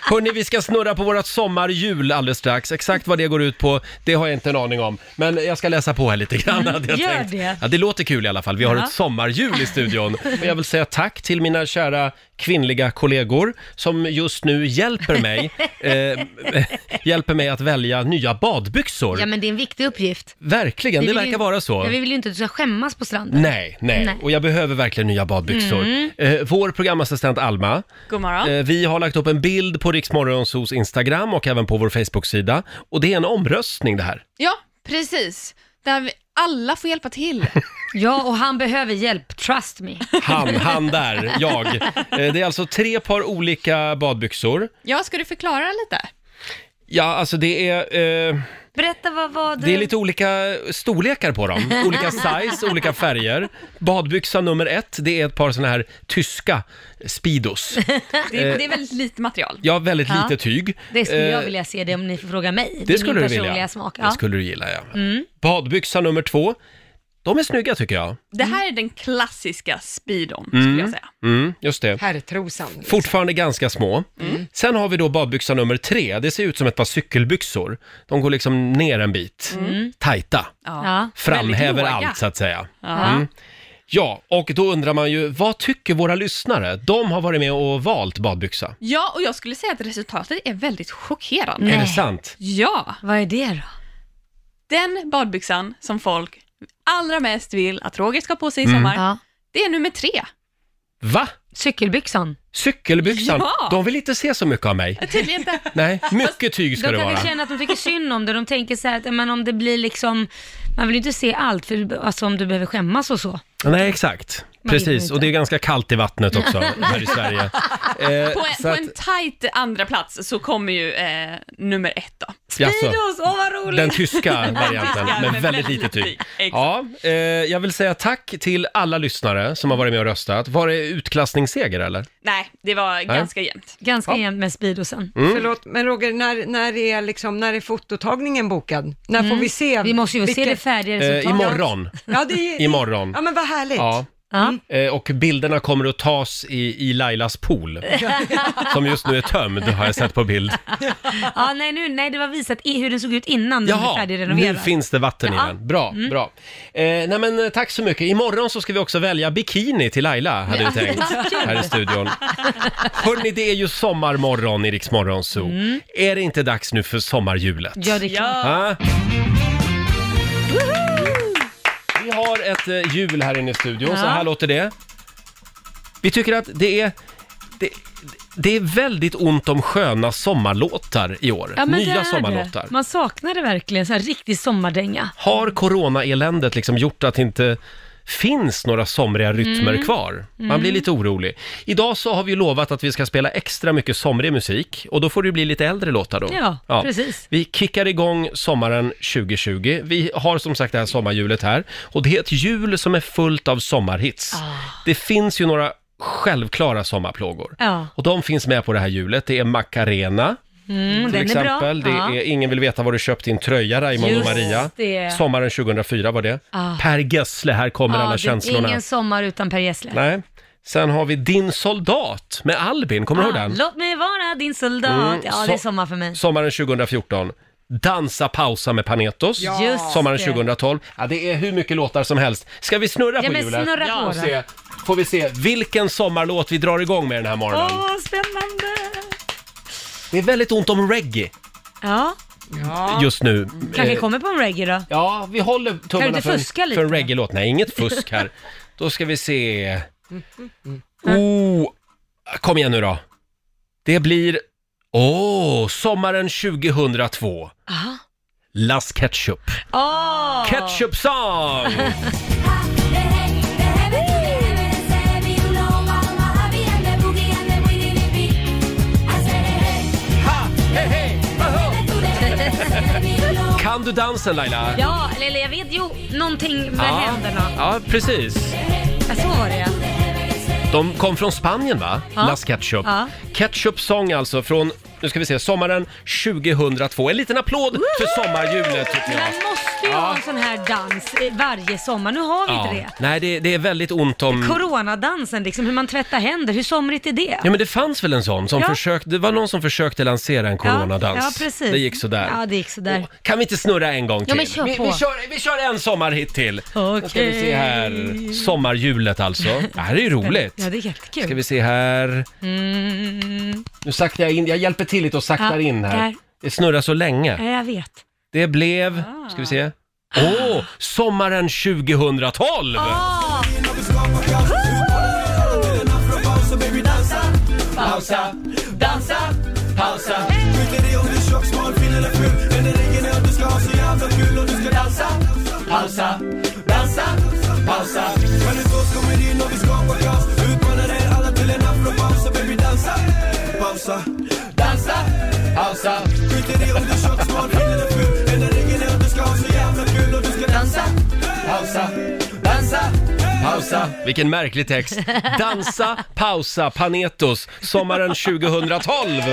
Speaker 1: Hörni, vi ska snurra på vårt sommarhjul alldeles strax. Exakt vad det går ut på, det har jag inte en aning om. Men jag ska läsa på här lite grann. hade jag
Speaker 3: Mm, gör
Speaker 1: tänkt.
Speaker 3: det.
Speaker 1: Ja, det låter kul i alla fall. Vi har
Speaker 3: Ja.
Speaker 1: ett sommarhjul i studion. Och jag vill säga tack till mina kära kvinnliga kollegor som just nu hjälper mig, eh, hjälper mig att välja nya badbyxor.
Speaker 3: Ja, men det är en viktig uppgift.
Speaker 1: Verkligen,
Speaker 3: Vi
Speaker 1: det
Speaker 3: vill ju-
Speaker 1: verkar vara så.
Speaker 3: Ja, vi vill ju inte att du ska skämmas på stranden.
Speaker 1: Nej, nej,
Speaker 3: Nej. Mm.
Speaker 1: och jag behöver verkligen nya badbyxor. Eh, vår programassistent Alma,
Speaker 8: God morgon.
Speaker 1: Eh, Vi har lagt upp en bild på Riksmorgonsos Instagram och även på vår Facebook-sida. Och det är en omröstning det här.
Speaker 8: Ja, precis. Där vi, alla får hjälpa till.
Speaker 3: Ja, och han behöver hjälp, trust me.
Speaker 1: Han, han där, jag. Eh, Det är alltså tre par olika badbyxor.
Speaker 8: Ja, ska du förklara lite?
Speaker 1: Ja, alltså det är, eh,
Speaker 3: Berätta vad, vad
Speaker 1: det är lite olika storlekar på dem. Olika size, olika färger. Badbyxa nummer ett, det är ett par såna här tyska Speedos.
Speaker 8: Det, är- det är väldigt lite material.
Speaker 1: Ja, väldigt
Speaker 3: Ja.
Speaker 1: lite tyg.
Speaker 3: Det skulle jag
Speaker 1: Eh,
Speaker 3: vilja se det om ni frågar mig. är
Speaker 1: Det
Speaker 3: min
Speaker 1: skulle du
Speaker 3: personliga
Speaker 1: vilja.
Speaker 3: Smak. Ja. Mm.
Speaker 1: Det skulle du gilla, ja. Badbyxa nummer två, de är snygga tycker jag.
Speaker 8: Det här är den klassiska speedon, skulle jag säga.
Speaker 1: Mm, just det.
Speaker 2: Herrtrosan.
Speaker 1: Fortfarande ganska små.
Speaker 3: Mm.
Speaker 1: Sen har vi då badbyxa nummer tre. Det ser ut som ett par cykelbyxor. De går liksom ner en bit. Tajta.
Speaker 3: Mm. Ja.
Speaker 1: Framhäver
Speaker 8: Väldigt låga.
Speaker 1: allt så att säga.
Speaker 3: Ja.
Speaker 1: Ja, och då undrar man ju, vad tycker våra lyssnare? De har varit med och valt badbyxa.
Speaker 8: Ja, och jag skulle säga att resultatet är väldigt chockerande.
Speaker 1: Är
Speaker 3: Nej.
Speaker 1: det sant?
Speaker 8: Mm. Ja,
Speaker 3: Vad är det då?
Speaker 8: den badbyxan som folk allra mest vill att Roger ska ha på sig i
Speaker 1: Mm.
Speaker 8: sommar,
Speaker 3: Ja.
Speaker 8: det är nummer tre.
Speaker 1: Va?
Speaker 3: Cykelbyxan.
Speaker 1: Cykelbyxan?
Speaker 8: Ja.
Speaker 1: De vill inte se så mycket av mig.
Speaker 8: Tydligen inte.
Speaker 1: Nej, mycket tyg ska
Speaker 3: De
Speaker 1: det vara.
Speaker 3: kanske känner att de tycker synd om det. De tänker så här att ja, men om det blir liksom, man vill ju inte se allt, för, alltså om du behöver skämmas och så.
Speaker 1: Nej, exakt.
Speaker 3: Man vet
Speaker 1: Precis,
Speaker 3: inte.
Speaker 1: och det är ganska kallt i vattnet också här i Sverige. Eh,
Speaker 8: På en,
Speaker 1: så
Speaker 8: på
Speaker 1: att-
Speaker 8: en tight andra plats så kommer ju eh, nummer ett då.
Speaker 1: Jaså.
Speaker 3: Speedos, åh vad roligt!
Speaker 1: Den tyska varianten,
Speaker 8: tyska,
Speaker 1: med
Speaker 8: men
Speaker 1: väldigt
Speaker 8: väldigt
Speaker 1: lite tyg.
Speaker 8: tyg. Exakt.
Speaker 1: Ja, eh, jag vill säga tack till alla lyssnare som har varit med och röstat. Var det utklassningsseger eller? Eh,
Speaker 8: Nej, det var ganska jämnt.
Speaker 3: Ganska jämnt med Speedosen.
Speaker 1: Mm.
Speaker 2: Mm. Förlåt, men Roger, när, när, är liksom, när är fototagningen bokad? När får vi se?
Speaker 3: Mm. Vi måste ju se det
Speaker 2: vilket-
Speaker 3: färdiga resultatet.
Speaker 1: Eh, imorgon.
Speaker 2: Ja, det är,
Speaker 1: Imorgon.
Speaker 2: Ja, men vad härligt.
Speaker 1: Ja.
Speaker 3: Ja.
Speaker 1: Eh, och bilderna kommer att tas i, i Lailas pool. Som just nu är tömd, har jag sett på bild.
Speaker 3: ja, nej, nu, nej, det var visat i hur den såg ut innan den blev
Speaker 1: Jaha, nu
Speaker 3: Mm. färdigrenoverad.
Speaker 1: finns det vatten i
Speaker 3: Ja. Mm.
Speaker 1: den. Bra, bra. Eh, nej men eh, tack så mycket. Imorgon så ska vi också välja bikini till Laila, hade vi tänkt. Här i studion. Hörni, det är ju sommarmorgon i Rix Morgon Zoo.
Speaker 3: Mm.
Speaker 1: Är det inte dags Ah. nu för sommarhjulet?
Speaker 3: Ja, det är klart.
Speaker 8: Ja,
Speaker 1: Ah. Vi har ett eh, hjul här inne i studion, så
Speaker 3: Ja.
Speaker 1: här låter det. Vi tycker att det är... Det, det är väldigt ont om sköna sommarlåtar i år.
Speaker 3: Ja, men det
Speaker 1: Nya
Speaker 3: är
Speaker 1: sommarlåtar.
Speaker 3: Det. Man saknar det verkligen, så här riktig sommardänga.
Speaker 1: Har coronaeländet liksom gjort att det inte finns några somriga rytmer
Speaker 3: Mm.
Speaker 1: kvar? Man blir lite orolig. Idag så har vi lovat att vi ska spela extra mycket somrig musik och då får det ju bli lite äldre låtar då.
Speaker 3: Ja, precis.
Speaker 1: Vi kickar igång sommaren 2020. Vi har som sagt det här sommarhjulet här och det är ett hjul som är fullt av sommarhits.
Speaker 3: Ah.
Speaker 1: Det finns ju några självklara sommarplågor.
Speaker 3: Ja.
Speaker 1: Och de finns med på det här hjulet. Det är Macarena
Speaker 3: Mm,
Speaker 1: till
Speaker 3: den
Speaker 1: exempel.
Speaker 3: är bra.
Speaker 1: Det
Speaker 3: Ja.
Speaker 1: är Ingen vill veta var du köpt din tröja, Raymond och
Speaker 3: Just
Speaker 1: Maria.
Speaker 3: det.
Speaker 1: Sommaren 2004 var det.
Speaker 3: Ah.
Speaker 1: Per Gessle, här kommer
Speaker 3: Ja,
Speaker 1: alla
Speaker 3: det-
Speaker 1: känslorna.
Speaker 3: Ingen sommar utan Per Gessle.
Speaker 1: Nej. Sen har vi Din soldat med Albin, kommer du
Speaker 3: Ah,
Speaker 1: ihåg den?
Speaker 3: Låt mig vara din soldat.
Speaker 1: Mm,
Speaker 3: ja, det är
Speaker 1: so-
Speaker 3: sommar för mig.
Speaker 1: Sommaren 2014. Dansa pausa med Panetos.
Speaker 3: Just
Speaker 1: Sommaren
Speaker 3: det.
Speaker 1: 2012. Ja, det är hur mycket låtar som helst. Ska vi snurra
Speaker 3: Ja,
Speaker 1: på
Speaker 3: men
Speaker 1: hjulet?
Speaker 3: snurra på
Speaker 1: och
Speaker 3: då.
Speaker 1: se, Får vi se vilken sommarlåt vi drar igång med den här morgonen.
Speaker 3: Åh, spännande!
Speaker 1: Det är väldigt ont om reggae
Speaker 3: Ja,
Speaker 1: just nu.
Speaker 3: kanske
Speaker 1: Eh,
Speaker 3: kommer på en reggae då.
Speaker 1: Ja, vi håller tummarna
Speaker 3: inte
Speaker 1: för, en-
Speaker 3: fuska lite?
Speaker 1: för en reggae-låt. Nej, inget fusk här. Då ska vi se.
Speaker 3: Mm.
Speaker 1: Oh, kom igen nu då. Det blir, åh, sommaren 2002.
Speaker 3: Aha.
Speaker 1: Las Ketchup.
Speaker 3: Åh!
Speaker 1: Ketchup song! Kan du dansen Laila?
Speaker 3: Ja, eller jag vet ju någonting med händerna.
Speaker 1: ja, precis.
Speaker 3: Ja, så var det ja.
Speaker 1: De kom från Spanien va?
Speaker 3: Ja.
Speaker 1: Las Ketchup.
Speaker 3: Ja.
Speaker 1: Ketchup song alltså från, nu ska vi se, sommaren 2002. En liten applåd för sommarhjulet tycker jag.
Speaker 3: Man måste ju ha en sån här dans eh, varje sommar. Nu har vi inte det.
Speaker 1: Nej, det, det är väldigt ont om...
Speaker 3: Coronadansen, liksom, hur man tvättar händer. Hur somrigt är det?
Speaker 1: Ja men det fanns väl en sån som
Speaker 3: Ja.
Speaker 1: försökte, det var någon som försökte lansera en coronadans.
Speaker 3: Ja, ja, precis.
Speaker 1: Det gick sådär.
Speaker 3: Ja, det gick sådär.
Speaker 1: Och Kan vi inte snurra en gång till?
Speaker 3: Ja, men kör
Speaker 1: vi,
Speaker 3: på.
Speaker 1: vi, kör, vi kör en sommarhit till. Då ska vi se
Speaker 3: Okej.
Speaker 1: här. Sommarhjulet alltså. Det här är ju roligt.
Speaker 3: Ja, det är jättekul.
Speaker 1: Ska vi se här.
Speaker 3: Mm,
Speaker 1: Nu saktar jag in, jag hjälper till lite och saktar
Speaker 3: Ja,
Speaker 1: in här.
Speaker 3: där.
Speaker 1: Det snurrar så länge.
Speaker 3: ja, jag vet.
Speaker 1: Det blev, ska vi se. Åh, sommaren 2012!
Speaker 3: Ah,
Speaker 1: Vilken märklig text. Dansa, pausa, Panetos. Sommaren 2012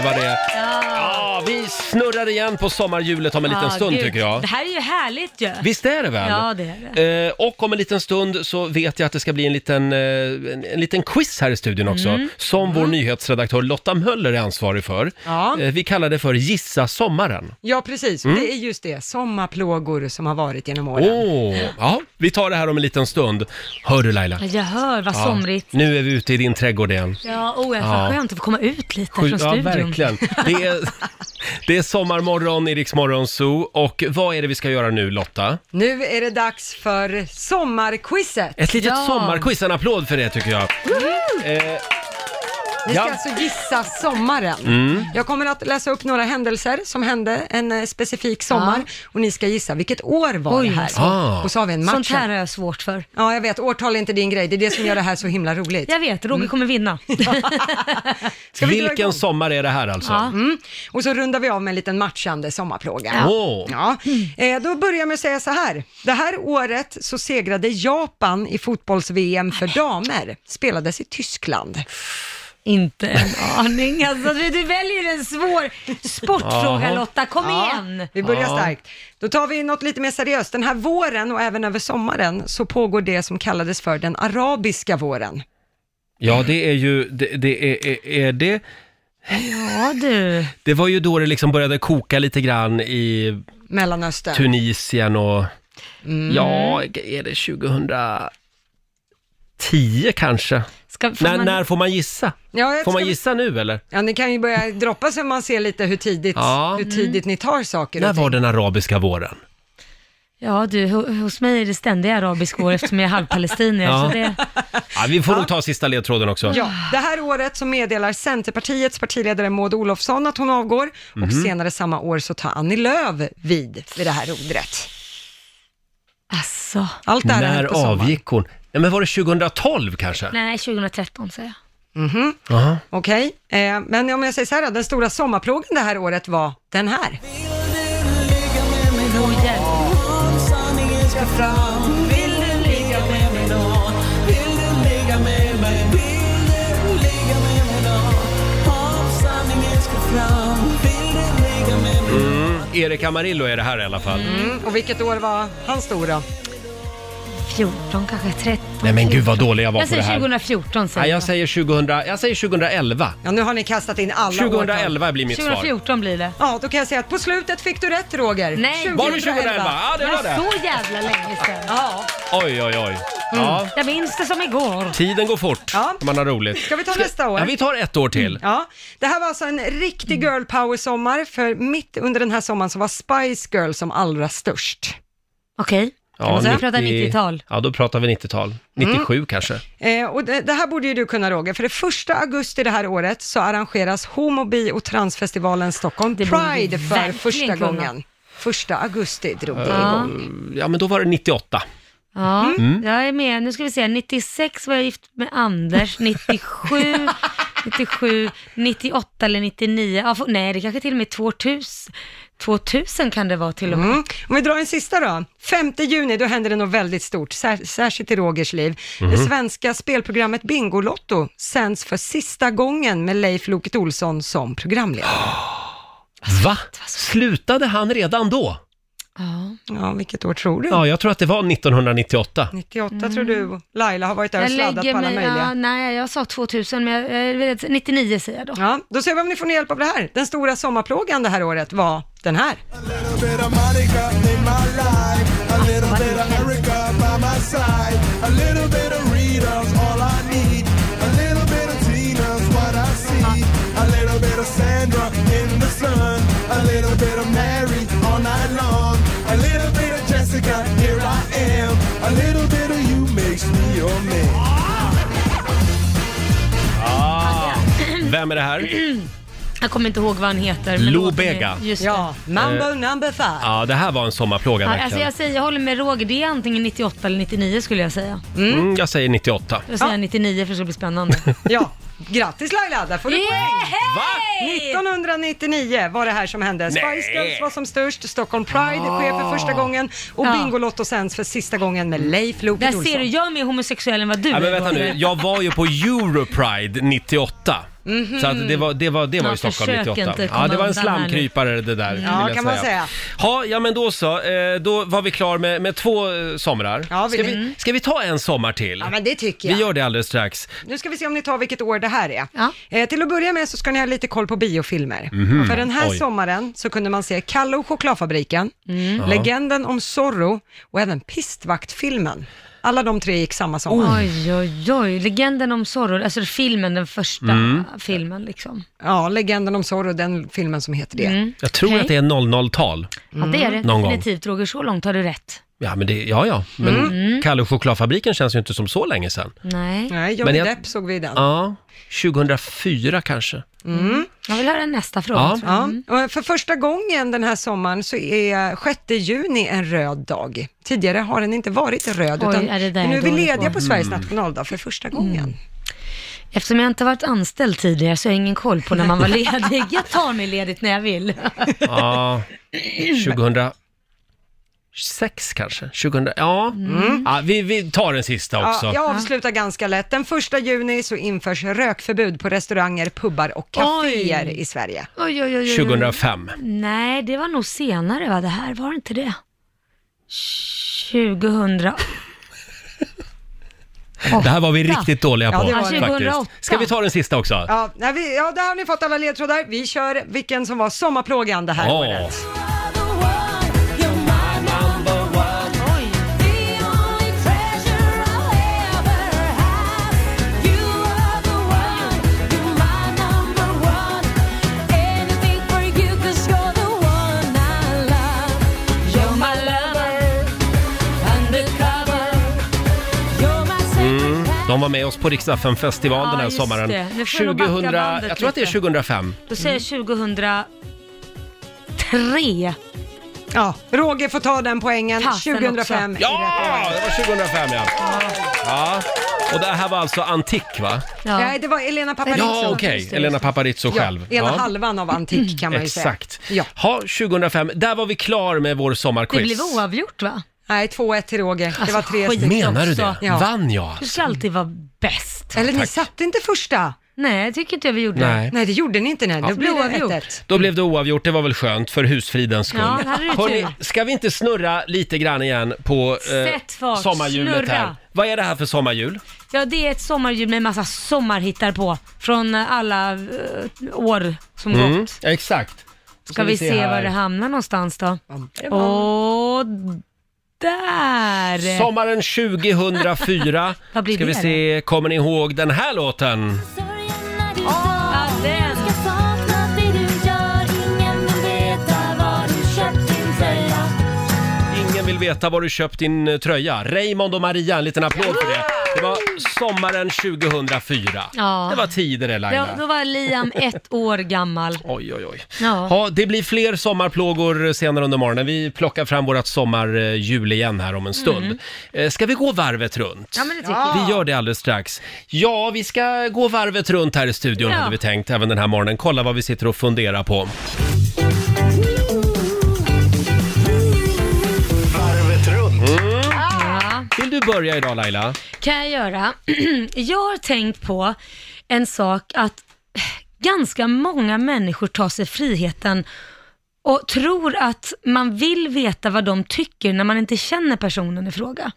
Speaker 1: var det. Ja, vi snurrar igen på sommarhjulet om en liten
Speaker 3: ah,
Speaker 1: stund
Speaker 3: gud.
Speaker 1: tycker jag.
Speaker 3: Det här är ju härligt ju.
Speaker 1: Visst är det väl?
Speaker 3: Ja, det är
Speaker 1: Eh, och om en liten stund så vet jag att det ska bli en liten, eh, en, en liten quiz här i studion också,
Speaker 3: Mm.
Speaker 1: som vår nyhetsredaktör Lotta Möller är ansvarig för.
Speaker 2: Ja.
Speaker 1: Eh, vi kallar det för Gissa sommaren.
Speaker 2: Ja, precis. Det är just det. Sommarplågor som har varit genom åren.
Speaker 1: Mm. Åh, ja, vi tar det här om en liten stund. Hör du Laila?
Speaker 3: Ja, Jag hör, vad somrigt.
Speaker 1: Nu är vi ute i din trädgård igen.
Speaker 3: Ja, oh, jag
Speaker 1: Ja.
Speaker 3: får skönt att få komma ut lite
Speaker 1: Sju-
Speaker 3: från
Speaker 1: ja,
Speaker 3: studion.
Speaker 1: verkligen. Det är, det är sommarmorgon i Rix Morgon Zoo och vad är det vi ska göra nu Lotta?
Speaker 2: Nu är det dags för sommarquizet.
Speaker 1: Ett litet
Speaker 3: Ja.
Speaker 1: sommarquiz, en applåd för det tycker jag. Eh,
Speaker 2: Vi ska
Speaker 1: ja, Mm.
Speaker 2: alltså gissa sommaren. Jag kommer att läsa upp några händelser som hände en eh, specifik sommar och ni ska gissa vilket år var
Speaker 3: Oj,
Speaker 2: det här.
Speaker 3: alltså.
Speaker 1: Ah.
Speaker 2: Och så har vi en
Speaker 3: Sånt
Speaker 2: match.
Speaker 3: här
Speaker 2: här.
Speaker 3: har jag svårt för.
Speaker 2: Ja, jag vet. Årtal är inte din grej. Det är det som gör det här så himla roligt.
Speaker 3: Jag vet, Roger
Speaker 1: Mm.
Speaker 3: kommer vinna.
Speaker 2: Ska vi dra igång?
Speaker 1: vilken sommar är det här alltså?
Speaker 3: Ja.
Speaker 2: Mm. Och så rundar vi av med en liten matchande sommarplåga.
Speaker 1: Åh.
Speaker 2: Ja, eh, då börjar jag med att säga så här. Det här året så segrade Japan i fotbolls-VM för damer. Spelades i Tyskland.
Speaker 3: Inte en aning. Alltså, du, du väljer en svår sportfråga
Speaker 1: Jaha.
Speaker 3: Lotta, kom igen!
Speaker 2: Vi börjar
Speaker 1: Ja.
Speaker 2: starkt. Då tar vi något lite mer seriöst. Den här våren och även över sommaren så pågår det som kallades för den arabiska våren.
Speaker 1: Ja, det är ju, det, det är, är, är det,
Speaker 3: Ja du.
Speaker 1: det var ju då det liksom började koka lite grann i
Speaker 2: Mellanöstern.
Speaker 1: Tunisien och,
Speaker 2: Mm.
Speaker 1: ja, är det 2010 kanske?
Speaker 3: Ska, får
Speaker 1: När,
Speaker 3: man,
Speaker 1: när får man gissa?
Speaker 2: Ja, jag
Speaker 1: Får man
Speaker 2: ska-
Speaker 1: gissa nu eller?
Speaker 2: Ja, ni kan ju börja droppa så man ser lite hur tidigt,
Speaker 1: Ja.
Speaker 2: hur tidigt ni tar saker.
Speaker 1: När
Speaker 2: och ting.
Speaker 1: var den arabiska våren?
Speaker 3: Ja du, ho- hos mig är det ständiga arabisk år eftersom jag är halvpalestinier.
Speaker 1: Ja.
Speaker 3: Så det,
Speaker 1: Ja, vi får nog ta sista ledtråden också.
Speaker 2: Ja, det här året så meddelar Centerpartiets partiledare Maud Olofsson att hon avgår och
Speaker 1: Mhm.
Speaker 2: senare samma år så tar Annie Lööf vid vid det här rodret.
Speaker 3: alltså,
Speaker 2: Allt det här har
Speaker 1: När
Speaker 2: hänt på sommaren.
Speaker 1: avgick hon? Nej, men var det 2012 kanske?
Speaker 3: nej 2013 säger jag.
Speaker 2: Okej, eh, men om jag säger så här då, den stora sommarplågan det här året var den här.
Speaker 3: Åh, hjälp.
Speaker 1: Erik Amarillo är det här i alla fall.
Speaker 2: Mm, och vilket år var han stor då?
Speaker 3: 14 kanske, 13.
Speaker 1: Nej men gud vad dålig jag var
Speaker 3: Jag
Speaker 1: på det
Speaker 3: säger
Speaker 1: här.
Speaker 3: 2014 säger
Speaker 1: Nej, jag säger 2000, jag säger 2011.
Speaker 2: Ja, nu har ni kastat in alla årtal.
Speaker 1: 2011 blir
Speaker 3: jag.
Speaker 1: mitt svar.
Speaker 3: 2014 blir det.
Speaker 2: Ja, då kan jag säga att på slutet fick du rätt Roger.
Speaker 3: Nej.
Speaker 1: Var det 2011? Ja, det var
Speaker 3: Men
Speaker 1: det.
Speaker 3: så jävla länge sedan.
Speaker 2: Ja.
Speaker 1: Oj, oj, oj. Ja,
Speaker 3: Jag minns det som igår.
Speaker 1: tiden går fort
Speaker 2: Mm. Ja.
Speaker 1: när man har roligt.
Speaker 2: Ska vi Mm. ta nästa år?
Speaker 1: Ja, vi tar ett år till.
Speaker 2: Ja, det här var alltså en riktig
Speaker 3: Mm.
Speaker 2: girl power-sommar, för mitt under den här sommaren så var Spice Girl som allra störst.
Speaker 3: Okej.
Speaker 1: Ja,
Speaker 3: vi pratar 90-tal.
Speaker 1: Ja, då pratar vi 90-tal.
Speaker 2: Mm.
Speaker 1: 97 kanske.
Speaker 2: Eh, och det, det här borde ju du kunna Roger, för det första augusti det här året så arrangeras homo-, bi och transfestivalen Stockholm
Speaker 3: Det borde du
Speaker 2: Pride för
Speaker 3: verkligen
Speaker 2: första
Speaker 3: kunna.
Speaker 2: gången. Första augusti drog det
Speaker 3: Ja.
Speaker 2: igång.
Speaker 1: Ja, men då var det 98.
Speaker 3: Ja, jag är med. Nu ska vi se. 96 var jag gift med Anders. 97, 97, 98 eller 99. Ja, för, nej, det kanske till och med 2000. 2000 kan det vara till och med.
Speaker 2: Mm. Om vi drar en sista då. 5 juni, då händer det något väldigt stort, sär, särskilt i Rogers liv. Det
Speaker 3: Mhm.
Speaker 2: svenska spelprogrammet Bingolotto sänds för sista gången med Leif Loket Olsson som programledare.
Speaker 1: Va? Slutade han redan då?
Speaker 3: Ja.
Speaker 2: Ja, vilket år tror du?
Speaker 1: Ja,
Speaker 3: Mm.
Speaker 1: jag tror att det var 1998.
Speaker 2: 98 tror du. och Laila har varit där och
Speaker 3: Jag
Speaker 2: sladdat
Speaker 3: lägger
Speaker 2: på alla
Speaker 3: mig... Ja,
Speaker 2: möjliga.
Speaker 3: nej, jag sa 2000, men jag, jag, vet, 99 säger jag då.
Speaker 2: Ja, då ser vi om ni får hjälp av det här. Den stora sommarplågan det här året var den här.
Speaker 1: Vem är det här?
Speaker 3: Jag kommer inte ihåg vad han heter. men
Speaker 1: Lou
Speaker 3: låten är-
Speaker 1: Bega.
Speaker 3: Just det.
Speaker 2: Ja, Mambo number five.
Speaker 1: Eh. Ja, det här var en sommarplåga
Speaker 3: Ja, alltså
Speaker 1: verkligen.
Speaker 3: jag, säger, jag håller med Roger, det är antingen 98 eller 99 skulle jag säga.
Speaker 1: Mm, jag säger 98.
Speaker 3: Jag säger 99 för det ska bli spännande.
Speaker 2: Ja, grattis Laila, där får du poäng.
Speaker 1: Va?
Speaker 2: 1999 var det här som hände. Spice Girls var som störst, Stockholm Pride sker för
Speaker 1: Ah.
Speaker 2: första gången och
Speaker 3: Ja.
Speaker 2: Bingolotto sänds för sista gången med Leif Loket
Speaker 3: Där
Speaker 2: Olsson.
Speaker 3: ser du, jag är mer homosexuell än vad du
Speaker 1: Ja, men
Speaker 3: är.
Speaker 1: vänta nu,
Speaker 3: Roger.
Speaker 1: jag var ju på Europride 98. Så att det var, det var, det var
Speaker 3: Mhm. Ja,
Speaker 1: i Stockholm
Speaker 3: försök
Speaker 1: 98.
Speaker 3: inte komma
Speaker 1: Ja, det var en
Speaker 3: undan här nu.
Speaker 1: slamkrypare det där. vill
Speaker 2: Ja,
Speaker 1: jag
Speaker 2: kan man säga.
Speaker 1: Ja, ja, men då så. Eh, Då var vi klar med, med två eh, somrar.
Speaker 2: Ja,
Speaker 1: ska,
Speaker 2: vill ni-
Speaker 1: vi, ska vi ta en sommar till?
Speaker 2: Ja, men det tycker
Speaker 1: Vi
Speaker 2: jag.
Speaker 1: gör det alldeles strax.
Speaker 2: Nu ska vi se om ni tar vilket år det här är.
Speaker 3: Ja.
Speaker 2: Eh, till att börja med så ska ni ha lite koll på biofilmer. För den här
Speaker 1: Mhm. Oj.
Speaker 2: sommaren så kunde man se Kalle och chokladfabriken,
Speaker 3: Mm.
Speaker 2: Legenden om Zorro och även Pistvaktfilmen. Alla de tre gick samma sommar.
Speaker 3: Oj, oj, oj. Legenden om Zorro, alltså filmen, den första
Speaker 1: Mm.
Speaker 3: filmen liksom.
Speaker 2: Ja, Legenden om Zorro, den filmen som heter det.
Speaker 3: Mm.
Speaker 1: Jag tror
Speaker 3: Okej.
Speaker 1: att det är 00-tal.
Speaker 3: Ja, det är det
Speaker 1: Mm. Någon gång.
Speaker 3: definitivt Roger, så långt har du rätt.
Speaker 1: Ja, men det, ja, ja. Men
Speaker 3: Mm.
Speaker 1: Kalle och chokladfabriken känns ju inte som så länge sedan.
Speaker 3: Nej,
Speaker 2: Nej,
Speaker 1: Men
Speaker 2: Johnny
Speaker 1: jag-
Speaker 2: Depp såg vi i den.
Speaker 1: Ja, 2004 kanske.
Speaker 3: jag vill höra nästa fråga.
Speaker 1: Ja.
Speaker 3: tror jag.
Speaker 2: Ja, och för första gången den här sommaren så är 6 juni en röd dag. Tidigare har den inte varit röd,
Speaker 3: Oj,
Speaker 2: utan
Speaker 3: är det där
Speaker 2: nu är
Speaker 3: jag
Speaker 2: vi
Speaker 3: är dålig
Speaker 2: lediga
Speaker 3: på?
Speaker 2: på Sveriges
Speaker 1: Mm.
Speaker 2: nationaldag för första gången.
Speaker 3: Eftersom jag inte har varit anställd tidigare så har jag ingen koll på när man var ledig. Jag tar mig ledigt när jag vill.
Speaker 1: Ja, 2006 kanske? 2000, ja, Mm. ja vi, vi tar den sista också.
Speaker 2: Ja, jag avslutar ganska lätt. Den första juni så införs rökförbud på restauranger, pubbar och kaféer
Speaker 3: Oj.
Speaker 2: i Sverige.
Speaker 3: Oj, oj, oj, oj, oj.
Speaker 1: 2005.
Speaker 3: Nej, det var nog senare va, det här, var det inte det? 2000...
Speaker 1: Det här var vi riktigt dåliga
Speaker 2: Ja,
Speaker 1: på
Speaker 2: det var
Speaker 3: det.
Speaker 1: faktiskt.
Speaker 3: 2008.
Speaker 1: Ska vi ta den sista också?
Speaker 2: Ja, nej, vi, ja, där har ni fått alla ledtrådar. Vi kör vilken som var sommarplågan det här
Speaker 1: Ja.
Speaker 2: året.
Speaker 9: You're my lover.
Speaker 1: De var med oss på Riksdagen festival
Speaker 3: Ja,
Speaker 1: den här
Speaker 3: just
Speaker 1: sommaren.
Speaker 3: det. Nu får jag nog
Speaker 1: 2000,
Speaker 3: backa bandet
Speaker 1: jag tror att det är
Speaker 3: lite.
Speaker 1: 2005.
Speaker 3: Då säger jag 2003.
Speaker 2: Ja, Roger får ta den poängen.
Speaker 3: Fasen
Speaker 2: 2005. i rätt
Speaker 1: Ja,
Speaker 2: ordning.
Speaker 1: det var 2005 ja. ja. Och det här var alltså antik va?
Speaker 3: Ja.
Speaker 2: Nej, det var Elena Paparizou.
Speaker 1: Ja, okej.
Speaker 3: just det.
Speaker 1: Elena Paparizou själv.
Speaker 2: Ena
Speaker 1: Ja.
Speaker 2: halvan av antik kan man ju
Speaker 1: Exakt.
Speaker 2: säga. Ja.
Speaker 1: Ha, 2005. Där var vi klar med vår
Speaker 3: Det
Speaker 1: sommarquiz.
Speaker 3: blev oavgjort va?
Speaker 2: Nej, 2-1 till Roger. Det var tre
Speaker 3: Alltså, skit.
Speaker 2: stycken.
Speaker 1: Menar du det?
Speaker 3: också.
Speaker 2: Ja.
Speaker 1: Vann jag? alltså?
Speaker 3: Du ska alltid vara bäst.
Speaker 2: Eller ni
Speaker 1: Tack.
Speaker 2: satte inte första?
Speaker 3: Nej, jag tycker inte jag vi gjorde.
Speaker 1: Nej.
Speaker 2: Nej, det gjorde ni inte. Nej. Då blir det
Speaker 3: Oavgjort.
Speaker 2: 1-1.
Speaker 1: Då blev det oavgjort, det var väl skönt för husfridens skull.
Speaker 3: Ja, det hade du
Speaker 1: Hörrni,
Speaker 3: tur.
Speaker 1: ska vi inte snurra lite grann igen på eh,
Speaker 3: Sätt fart,
Speaker 1: sommarhjulet
Speaker 3: snurra.
Speaker 1: här? Vad är det här för sommarhjul?
Speaker 3: Ja, det är ett sommarljud med massa sommarhittar på från eh, alla eh, år som gått.
Speaker 1: Mm, Exakt.
Speaker 3: Mm. Ska vi se var
Speaker 1: här.
Speaker 3: det hamnar någonstans då? Och där!
Speaker 1: Sommaren 2004.
Speaker 3: Vad blir
Speaker 1: ska vi
Speaker 3: det
Speaker 1: se, kommer ni ihåg den här låten?
Speaker 3: Ja, den.
Speaker 1: Ingen vill veta var du köpt din eh, tröja. Raymond och Maria, en liten applåd för det. Det var sommaren 2004.
Speaker 3: Ja.
Speaker 1: Det var tider det
Speaker 3: Ja,
Speaker 1: Laila.
Speaker 3: då var Liam ett år gammal.
Speaker 1: Oj, oj, oj.
Speaker 3: Ja.
Speaker 1: Ja, det blir fler sommarplågor senare under morgonen. Vi plockar fram vårt sommarhjul igen här om en stund. Eh, Ska vi gå varvet runt?
Speaker 3: Mm. Ja, men det tycker jag.
Speaker 1: Vi gör det alldeles strax. Ja, vi ska gå varvet runt här i studion
Speaker 3: Ja.
Speaker 1: hade vi tänkt även den här morgonen. Kolla vad vi sitter och funderar på.
Speaker 3: Ja.
Speaker 1: Vill du börja idag Laila?
Speaker 3: kan jag göra. jag har tänkt på en sak att ganska många människor tar sig friheten och tror att man vill veta vad de tycker när man inte känner personen i fråga.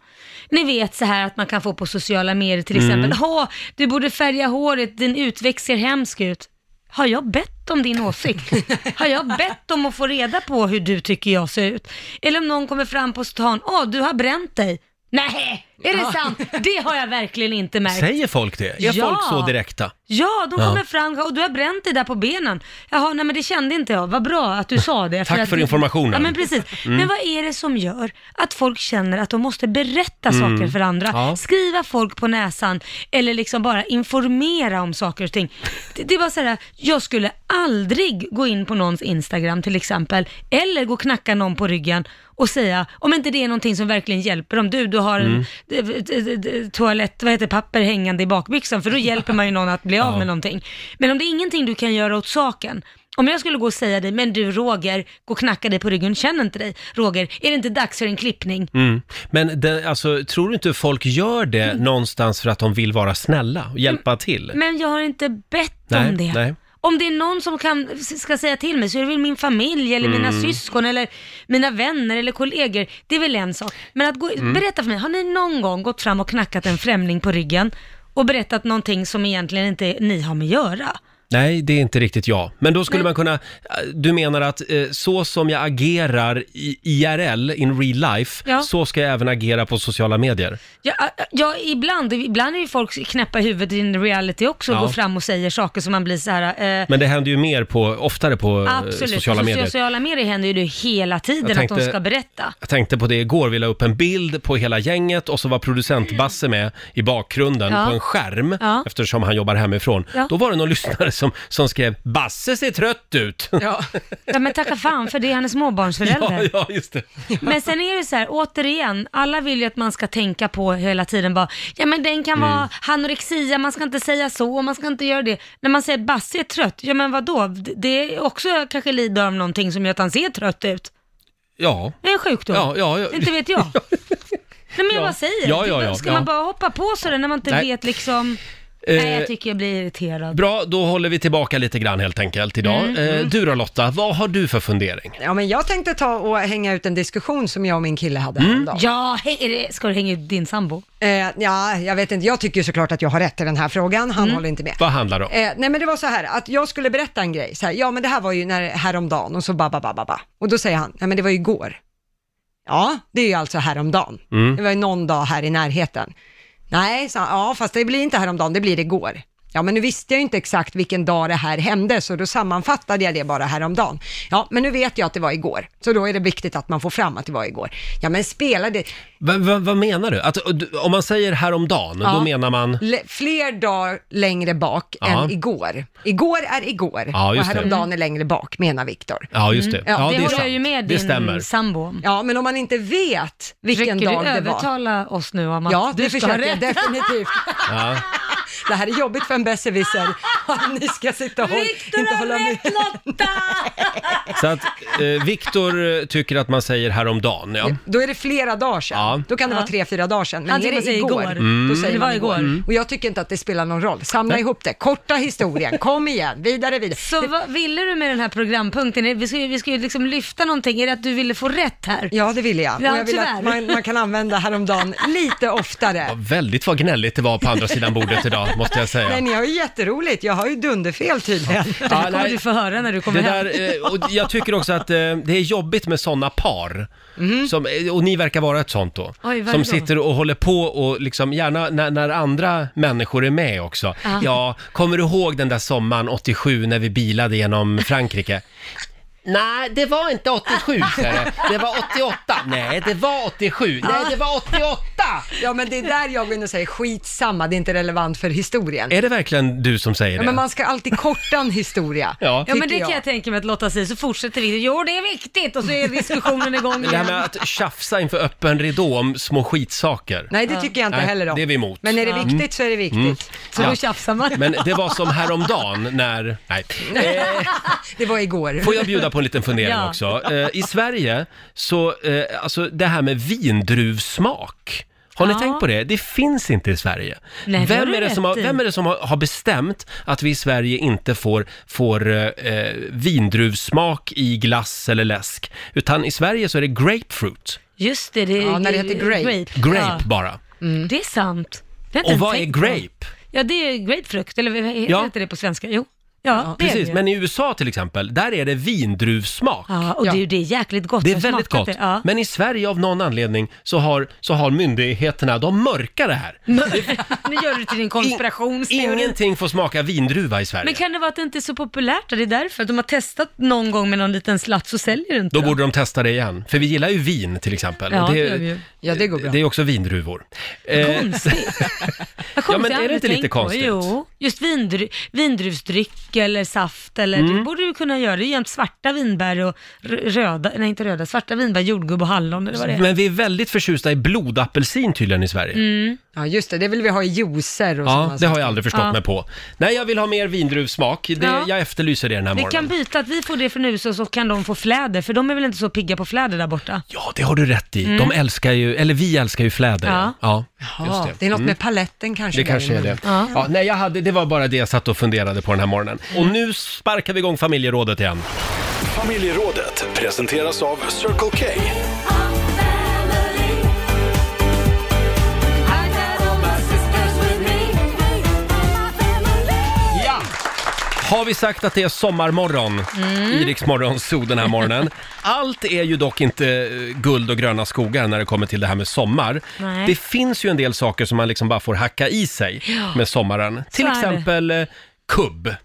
Speaker 3: Ni vet så här att man kan få på sociala medier till exempel, ha, du borde färga håret, din utväxt ser hemsk ut. Har jag bett om din åsikt? Har jag bett om att få reda på hur du tycker jag ser ut? Eller om någon kommer fram på stan, åh du har bränt dig. Nej, är det sant? Det har jag verkligen inte märkt.
Speaker 1: Säger folk det? Är
Speaker 3: Ja.
Speaker 1: folk så direkta?
Speaker 3: Ja, de kommer fram och du har bränt dig där på benen. Jaha, nej men det kände inte jag. Vad bra att du sa det.
Speaker 1: Tack
Speaker 3: att
Speaker 1: för
Speaker 3: det-
Speaker 1: informationen. Mm.
Speaker 3: Ja, men precis. Men vad är det som gör att folk känner att de måste berätta saker för andra?
Speaker 1: Mm. Ja.
Speaker 3: Skriva folk på näsan eller liksom bara informera om saker och ting. Det, det var så här, jag skulle aldrig gå in på någons Instagram till exempel, eller gå och knacka någon på ryggen och säga, om inte det är någonting som verkligen hjälper dem, du, du har en d- d- d- d- toalett, vad heter det, papper hängande i bakbyxan, för då hjälper man ju någon att bli av med någonting. Men om det är ingenting du kan göra åt saken, om jag skulle gå och säga dig, men du Roger, gå och knacka dig på ryggen, känner inte dig. Roger, är det inte dags för en klippning?
Speaker 1: Mm. Men det, alltså, tror du inte folk gör det
Speaker 3: Mm.
Speaker 1: någonstans för att de vill vara snälla och hjälpa till?
Speaker 3: Men jag har inte bett
Speaker 1: Nej,
Speaker 3: om det.
Speaker 1: nej.
Speaker 3: Om det är någon som kan, ska säga till mig så är det väl min familj eller mina
Speaker 1: Mm.
Speaker 3: syskon eller mina vänner eller kollegor. Det är väl en sak. Men att gå,
Speaker 1: Mm.
Speaker 3: berätta för mig, har ni någon gång gått fram och knackat en främling på ryggen och berättat någonting som egentligen inte ni har med att göra?
Speaker 1: Nej, det är inte riktigt jag. Men då skulle
Speaker 3: Men-
Speaker 1: man kunna... eh, Du menar att eh, så som jag agerar i IRL, in real life,
Speaker 3: Ja.
Speaker 1: så ska jag även agera på sociala medier.
Speaker 3: Ja, ja, ja ibland, ibland är ju folk knäppa i huvudet i en reality också och
Speaker 1: Ja.
Speaker 3: går fram och säger saker som man blir så här. Eh,
Speaker 1: Men det händer ju mer på, oftare på eh,
Speaker 3: Absolut, Alltså,
Speaker 1: sociala
Speaker 3: På
Speaker 1: medier.
Speaker 3: sociala medier händer ju det hela tiden
Speaker 1: Jag
Speaker 3: att
Speaker 1: tänkte-
Speaker 3: de ska berätta.
Speaker 1: Jag tänkte på det igår, vi la upp en bild på hela gänget och så var producent Basse med i bakgrunden
Speaker 3: Mm. Ja.
Speaker 1: på en skärm
Speaker 3: Ja.
Speaker 1: eftersom han jobbar hemifrån.
Speaker 3: Ja.
Speaker 1: Då var det någon lyssnare som, som skrev “Basse ser trött ut”.
Speaker 2: Ja.
Speaker 3: Ja, men tacka fan för det, han är småbarnsförälder.
Speaker 1: Ja, ja, just det.
Speaker 3: Men sen är det så här, återigen, alla vill ju att man ska tänka på hela tiden bara, ja men den kan
Speaker 1: Mm.
Speaker 3: vara anorexia, man ska inte säga så, man ska inte göra det. När man säger att Basse är trött, ja men vadå? D- Det är också kanske lider av någonting som gör att han ser trött ut.
Speaker 1: Ja,
Speaker 3: Det är en sjukdom.
Speaker 1: ja, ja. ja.
Speaker 3: Inte vet jag. Nej men jag
Speaker 1: Ja.
Speaker 3: bara säger,
Speaker 1: Ja, ja, ja,
Speaker 3: ska
Speaker 1: ja.
Speaker 3: man bara hoppa på sådär när man inte
Speaker 1: Nej.
Speaker 3: vet liksom?
Speaker 1: Eh,
Speaker 3: Nej, jag tycker jag blir irriterad.
Speaker 1: Bra, då håller vi tillbaka lite grann helt enkelt idag.
Speaker 3: Mm,
Speaker 1: Eh, du då Lotta, vad har du för fundering?
Speaker 2: ja, men jag tänkte ta och hänga ut en diskussion som jag och min kille
Speaker 1: Mm.
Speaker 2: hade häromdagen.
Speaker 3: Ja, hej, är det, ska du hänga ut din sambo?
Speaker 2: Eh, ja, jag vet inte. Jag tycker ju såklart att jag har rätt i den här frågan. Han håller inte med.
Speaker 1: Vad handlar det om?
Speaker 2: Eh, nej men det var så här att jag skulle berätta en grej, så här, ja men det här var ju när, häromdagen och så ba, ba, ba, ba, ba. Och då säger han, nej men det var ju igår. Ja, det är ju alltså häromdagen. Det var ju någon dag här i närheten. Nej, sa han, ja fast det blir inte häromdagen, det blir igår. Ja, men nu visste jag ju inte exakt vilken dag det här hände, så då sammanfattade jag det bara häromdagen. Ja, men nu vet jag att det var igår, så då är det viktigt att man får fram att det var igår. Ja, men spelade...
Speaker 1: Va, va, vad menar du? Att, och du- om man säger häromdagen,
Speaker 2: Ja.
Speaker 1: då menar man...
Speaker 2: Le- fler dagar längre bak
Speaker 1: Ja.
Speaker 2: än igår. Igår är igår
Speaker 1: Ja,
Speaker 2: och
Speaker 1: just det.
Speaker 2: häromdagen är längre bak, menar Viktor.
Speaker 1: Ja, just det.
Speaker 2: Ja,
Speaker 1: Ja,
Speaker 3: Mm, det,
Speaker 1: är
Speaker 3: håller jag
Speaker 1: sant.
Speaker 3: ju med
Speaker 1: Det
Speaker 3: din
Speaker 1: stämmer.
Speaker 3: sambo om.
Speaker 2: Ja, men om man inte vet vilken
Speaker 3: Försöker
Speaker 2: dag
Speaker 3: du
Speaker 2: det var.
Speaker 3: övertala oss nu om att
Speaker 2: Ja, det
Speaker 3: du ska ha
Speaker 2: försöker
Speaker 3: rätt?
Speaker 2: jag definitivt.
Speaker 1: Ja.
Speaker 2: Det här är jobbigt för en besserwisser. Om ni ska sitta och håll, inte hålla med.
Speaker 3: Lotta!
Speaker 1: Så att eh, Viktor eh, tycker att man säger häromdagen, ja.
Speaker 2: Då är det flera dagar sedan.
Speaker 1: Ja.
Speaker 2: Då kan det vara tre, fyra dagar sedan. Men
Speaker 3: Han
Speaker 2: är
Speaker 3: tycker man
Speaker 2: det
Speaker 3: säger
Speaker 2: igår,
Speaker 3: igår. Mm.
Speaker 2: då säger
Speaker 3: Det
Speaker 2: man
Speaker 3: var igår. Mm.
Speaker 2: Och jag tycker inte att det spelar någon roll. Samla ihop det. Korta historien. Kom igen. Vidare, vidare.
Speaker 3: Så vad ville du med den här programpunkten? Vi ska ju, vi ska ju liksom lyfta någonting. Är det att du ville få rätt här?
Speaker 2: Ja, det vill jag.
Speaker 3: Ja,
Speaker 2: och jag vill
Speaker 3: tyvärr.
Speaker 2: att man, man kan använda häromdagen lite oftare.
Speaker 1: Ja, Väldigt vad gnälligt det var på andra sidan bordet idag, måste jag säga.
Speaker 2: Men ni har ju jätteroligt. Jag har ju dunderfel tydligen.
Speaker 3: Det
Speaker 1: Ja,
Speaker 3: här kommer
Speaker 1: nej.
Speaker 3: du få höra när du kommer
Speaker 1: Det
Speaker 3: hem.
Speaker 1: där, eh, och jag tycker också att eh, det är jobbigt med sådana par. Som, eh, och ni verkar vara ett sånt då.
Speaker 3: Oj, vad är
Speaker 1: som
Speaker 3: det då?
Speaker 1: sitter och håller på och liksom gärna när, när andra människor är med också.
Speaker 3: Ja.
Speaker 1: Ja, kommer du ihåg den där sommaren 87 när vi bilade genom Frankrike? Nej, det var inte 87 säger jag. Det var 88. Nej, det var 87. Nej, det var 88!
Speaker 2: Ja, men det är där jag går in och säger skitsamma, det är inte relevant för historien.
Speaker 1: Är det verkligen du som säger
Speaker 2: Ja,
Speaker 1: det?
Speaker 2: men man ska alltid korta en historia.
Speaker 1: Ja.
Speaker 3: Ja men det
Speaker 2: tycker
Speaker 3: kan jag
Speaker 2: jag.
Speaker 3: tänka mig att Lotta säger, så fortsätter vi. Jo det är viktigt och så är diskussionen igång
Speaker 1: Det här
Speaker 3: igen.
Speaker 1: med att tjafsa inför öppen ridå om små skitsaker.
Speaker 2: Nej, det tycker jag inte
Speaker 1: Nej,
Speaker 2: heller om.
Speaker 1: det är vi emot. Mm.
Speaker 2: Men är det viktigt så är det viktigt.
Speaker 3: Så
Speaker 1: Ja.
Speaker 3: då tjafsar man.
Speaker 1: Men det var som häromdagen när... Nej. Eh,
Speaker 2: Det var igår.
Speaker 1: får jag bjuda på en liten fundering
Speaker 3: Ja.
Speaker 1: också? Eh, I Sverige, så, eh, alltså det här med vindruvsmak. Har ni
Speaker 3: Ja.
Speaker 1: tänkt på det? Det finns inte i Sverige.
Speaker 3: Nej, det har
Speaker 1: vem,
Speaker 3: du
Speaker 1: är det som har,
Speaker 3: rätt i.
Speaker 1: vem är det som har, har bestämt att vi i Sverige inte får, får eh, eh, vindruvsmak i glass eller läsk? Utan i Sverige så är det grapefruit.
Speaker 3: Just det, det,
Speaker 2: Ja, när det heter grape.
Speaker 1: Grape
Speaker 3: Ja.
Speaker 1: bara.
Speaker 3: Det är sant. Det har jag
Speaker 1: Och
Speaker 3: inte
Speaker 1: vad är
Speaker 3: tänkt på.
Speaker 1: grape?
Speaker 3: Ja det är grapefrukt, eller vad heter
Speaker 1: Ja.
Speaker 3: inte det på svenska? Jo. Ja, det är det
Speaker 1: Precis,
Speaker 3: ju.
Speaker 1: men i USA till exempel, där är det vindruvsmak.
Speaker 3: Ja, och det är ju det är jäkligt gott.
Speaker 1: Det är
Speaker 3: Jag har
Speaker 1: väldigt
Speaker 3: smakat
Speaker 1: gott.
Speaker 3: det, Ja.
Speaker 1: Men i Sverige av någon anledning så har, så har myndigheterna, de mörkar det här.
Speaker 3: nu gör du det till din konspirationsteori.
Speaker 1: Ingenting får smaka vindruva i Sverige.
Speaker 3: Men kan det vara att det inte är så populärt? Det är därför. Att de har testat någon gång med någon liten slatt så säljer det inte.
Speaker 1: Då
Speaker 3: dem.
Speaker 1: borde de testa det igen. För vi gillar ju vin till exempel.
Speaker 3: Ja,
Speaker 1: Och
Speaker 3: det gör vi ju.
Speaker 2: Ja, det går bra.
Speaker 1: Det är också vindruvor. Eh,
Speaker 3: Konstigt. Vad
Speaker 1: Ja, men
Speaker 3: konstigt, jag
Speaker 1: är det
Speaker 3: aldrig
Speaker 1: inte lite
Speaker 3: tänkt på.
Speaker 1: konstigt?
Speaker 3: Jo, just vindru, vindruvsdryck eller saft eller
Speaker 1: Mm.
Speaker 3: det borde du kunna göra. Det är jämt svarta vinbär och r- röda, nej inte röda, svarta vinbär, jordgubb och hallon eller vad det Mm. är.
Speaker 1: men vi är väldigt förtjusta i blodapelsin tydligen i Sverige.
Speaker 2: Ja, just det. Det vill vi ha i juicer och
Speaker 1: Ja,
Speaker 2: sådana
Speaker 1: det
Speaker 2: saker.
Speaker 1: har jag aldrig förstått
Speaker 3: Ja.
Speaker 1: mig på. Nej, jag vill ha mer vindruvsmak. Det,
Speaker 3: Ja.
Speaker 1: Jag efterlyser det den här
Speaker 3: Vi
Speaker 1: morgonen.
Speaker 3: kan byta att vi får det från USA så kan de få fläder, för de är väl inte så pigga på fläder där borta?
Speaker 1: Ja, det har du rätt i. De älskar ju, eller vi älskar ju fläder.
Speaker 3: Mm. Ja.
Speaker 1: ja.
Speaker 2: Ja, det. är något med paletten kanske.
Speaker 1: Mm. Det
Speaker 2: där
Speaker 1: kanske är det.
Speaker 2: emellan.
Speaker 1: Ja. nej, jag hade, det var bara det jag satt och funderade på den här morgonen. Och nu sparkar vi igång familjerådet igen.
Speaker 4: Familjerådet presenteras av Circle K.
Speaker 1: Ja! Har vi sagt att det är sommarmorgon i Rix Morgon Zoo den här morgonen? Allt är ju dock inte eh, guld och gröna skogar när det kommer till det här med sommar.
Speaker 3: Nej.
Speaker 1: Det finns ju en del saker som man liksom bara får hacka i sig med sommaren. Till
Speaker 3: är det.
Speaker 1: exempel eh, kubb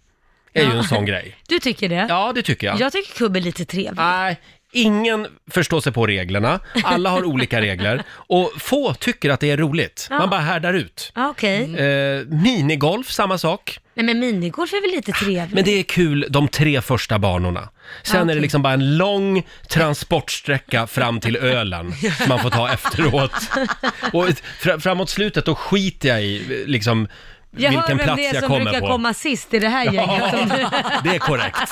Speaker 1: är ju en sån grej.
Speaker 3: Du tycker det?
Speaker 1: Ja, det tycker jag.
Speaker 3: Jag tycker kubb är lite trevlig.
Speaker 1: Nej, ingen förstår sig på reglerna. Alla har olika regler. Och få tycker att det är roligt. Man bara härdar ut.
Speaker 3: Ja, Okej.
Speaker 1: Eh, minigolf, samma sak.
Speaker 3: Nej men minigolf är väl lite trevligt?
Speaker 1: Men det är kul de tre första banorna. Sen är det
Speaker 3: okej.
Speaker 1: liksom bara en lång transportsträcka fram till ölen som man får ta efteråt. Och fra- framåt slutet då skiter jag i liksom
Speaker 3: jag hör
Speaker 1: vilken
Speaker 3: vem
Speaker 1: plats
Speaker 3: det är
Speaker 1: jag
Speaker 3: som
Speaker 1: kommer
Speaker 3: brukar
Speaker 1: på.
Speaker 3: komma sist i det här gänget. som du-
Speaker 1: Det är korrekt.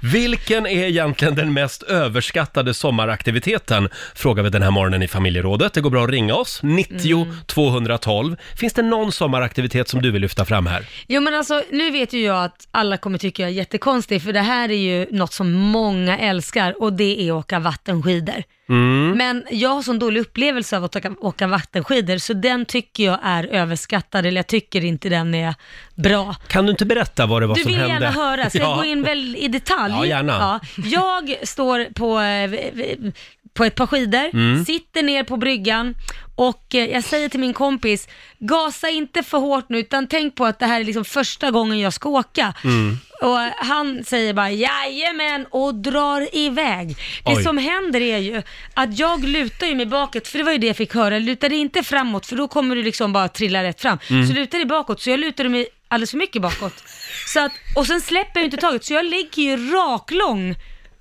Speaker 1: Vilken är egentligen den mest överskattade sommaraktiviteten? Frågar vi den här morgonen i familjerådet. Det går bra att ringa oss, 90
Speaker 3: Mm.
Speaker 1: 212. Finns det någon sommaraktivitet som du vill lyfta fram här?
Speaker 3: Jo men alltså, nu vet ju jag att alla kommer tycka jag är jättekonstig, för det här är ju något som många älskar och det är att åka vattenskidor.
Speaker 1: Mm.
Speaker 3: Men jag har sån dålig upplevelse av att åka, åka vattenskidor, så den tycker jag är överskattad, eller jag tycker inte den är bra.
Speaker 1: Kan du inte berätta vad det var
Speaker 3: Du
Speaker 1: som
Speaker 3: vill
Speaker 1: hände?
Speaker 3: gärna höra, ska
Speaker 1: Ja.
Speaker 3: jag gå in väl i detalj?
Speaker 1: Ja, gärna.
Speaker 3: Jag står på eh, v- v- på ett par skidor,
Speaker 1: Mm.
Speaker 3: sitter ner på bryggan och eh, jag säger till min kompis, gasa inte för hårt nu utan tänk på att det här är liksom första gången jag ska åka.
Speaker 1: Mm.
Speaker 3: Och eh, han säger bara jajamän och drar iväg.
Speaker 1: Oj.
Speaker 3: Det som händer är ju att jag lutar ju mig bakåt, för det var ju det jag fick höra, luta dig inte framåt för då kommer du liksom bara trilla rätt fram. Så luta dig bakåt, så jag lutade mig alldeles för mycket bakåt. Så att, och sen släpper jag ju inte taget, så jag ligger ju raklång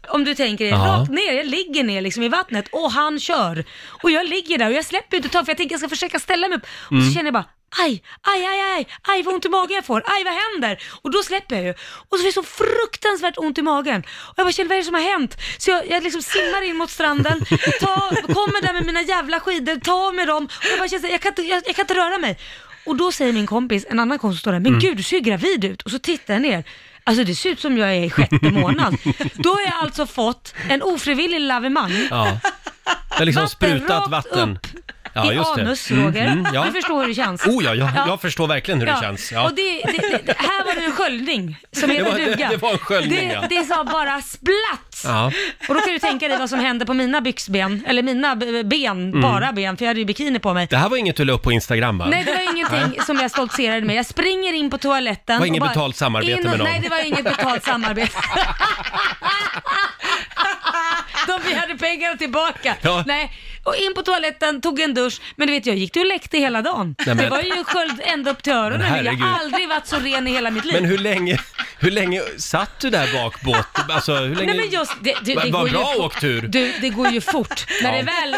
Speaker 3: om du tänker dig,
Speaker 1: Ja.
Speaker 3: rakt ner, jag ligger ner liksom i vattnet och han kör. Och jag ligger där och jag släpper inte taget för jag tänker jag ska försöka ställa mig upp. Och så känner jag bara, aj, aj, aj, aj, aj vad ont i magen jag får, aj vad händer? Och då släpper jag ju. Och så får jag så fruktansvärt ont i magen. Och jag bara, känner vad är det som har hänt? Så jag, jag liksom simmar in mot stranden, tar, kommer där med mina jävla skidor, tar med dem och jag bara känner så här, jag kan inte, jag, jag kan inte röra mig. Och då säger min kompis, en annan kompis som står där, men gud du ser ju gravid ut. Och så tittar jag ner. Alltså det ser ut som jag är i sjätte månad. Då har jag alltså fått en ofrivillig lavemang.
Speaker 1: Ja. Det har liksom
Speaker 3: Vatten
Speaker 1: sprutat
Speaker 3: rakt
Speaker 1: vatten.
Speaker 3: upp I anus, Roger.
Speaker 1: Mm-hmm, ja.
Speaker 3: Du förstår hur det känns.
Speaker 1: Oh ja, jag,
Speaker 3: Ja.
Speaker 1: jag förstår verkligen hur det
Speaker 3: Ja,
Speaker 1: känns. Ja.
Speaker 3: Och det, det, det, här var det en sköljning som
Speaker 1: Det
Speaker 3: heter
Speaker 1: var- det-
Speaker 3: duga.
Speaker 1: det var en sköljning,
Speaker 3: det,
Speaker 1: ja.
Speaker 3: det sa bara splatt!
Speaker 1: Ja.
Speaker 3: Och då kan du tänka dig vad som hände på mina byxben, eller mina b- ben,
Speaker 1: Mm.
Speaker 3: bara ben, för jag hade ju bikini på mig.
Speaker 1: Det här var inget du la upp på Instagram va?
Speaker 3: Nej, det var ingenting som jag stoltserade med. Jag springer in på toaletten.
Speaker 1: var
Speaker 3: och
Speaker 1: inget
Speaker 3: bara-
Speaker 1: betalt samarbete
Speaker 3: in,
Speaker 1: med någon.
Speaker 3: Nej, det var inget betalt samarbete. De begärde pengarna tillbaka.
Speaker 1: Ja.
Speaker 3: Nej. Och in på toaletten, tog en dusch, men du vet jag gick ju och läckte hela dagen.
Speaker 1: Nej, men-
Speaker 3: Det var ju sköld ända upp till öronen.
Speaker 1: Men
Speaker 3: jag
Speaker 1: herregud.
Speaker 3: har aldrig varit så ren i hela mitt liv.
Speaker 1: Men hur länge, hur länge satt du där bak båt? Alltså hur länge?
Speaker 3: Nej, men just, det, det,
Speaker 1: Va-
Speaker 3: det
Speaker 1: vad
Speaker 3: går
Speaker 1: bra
Speaker 3: ju,
Speaker 1: åkt tur.
Speaker 3: Du, det går ju fort. När det väl,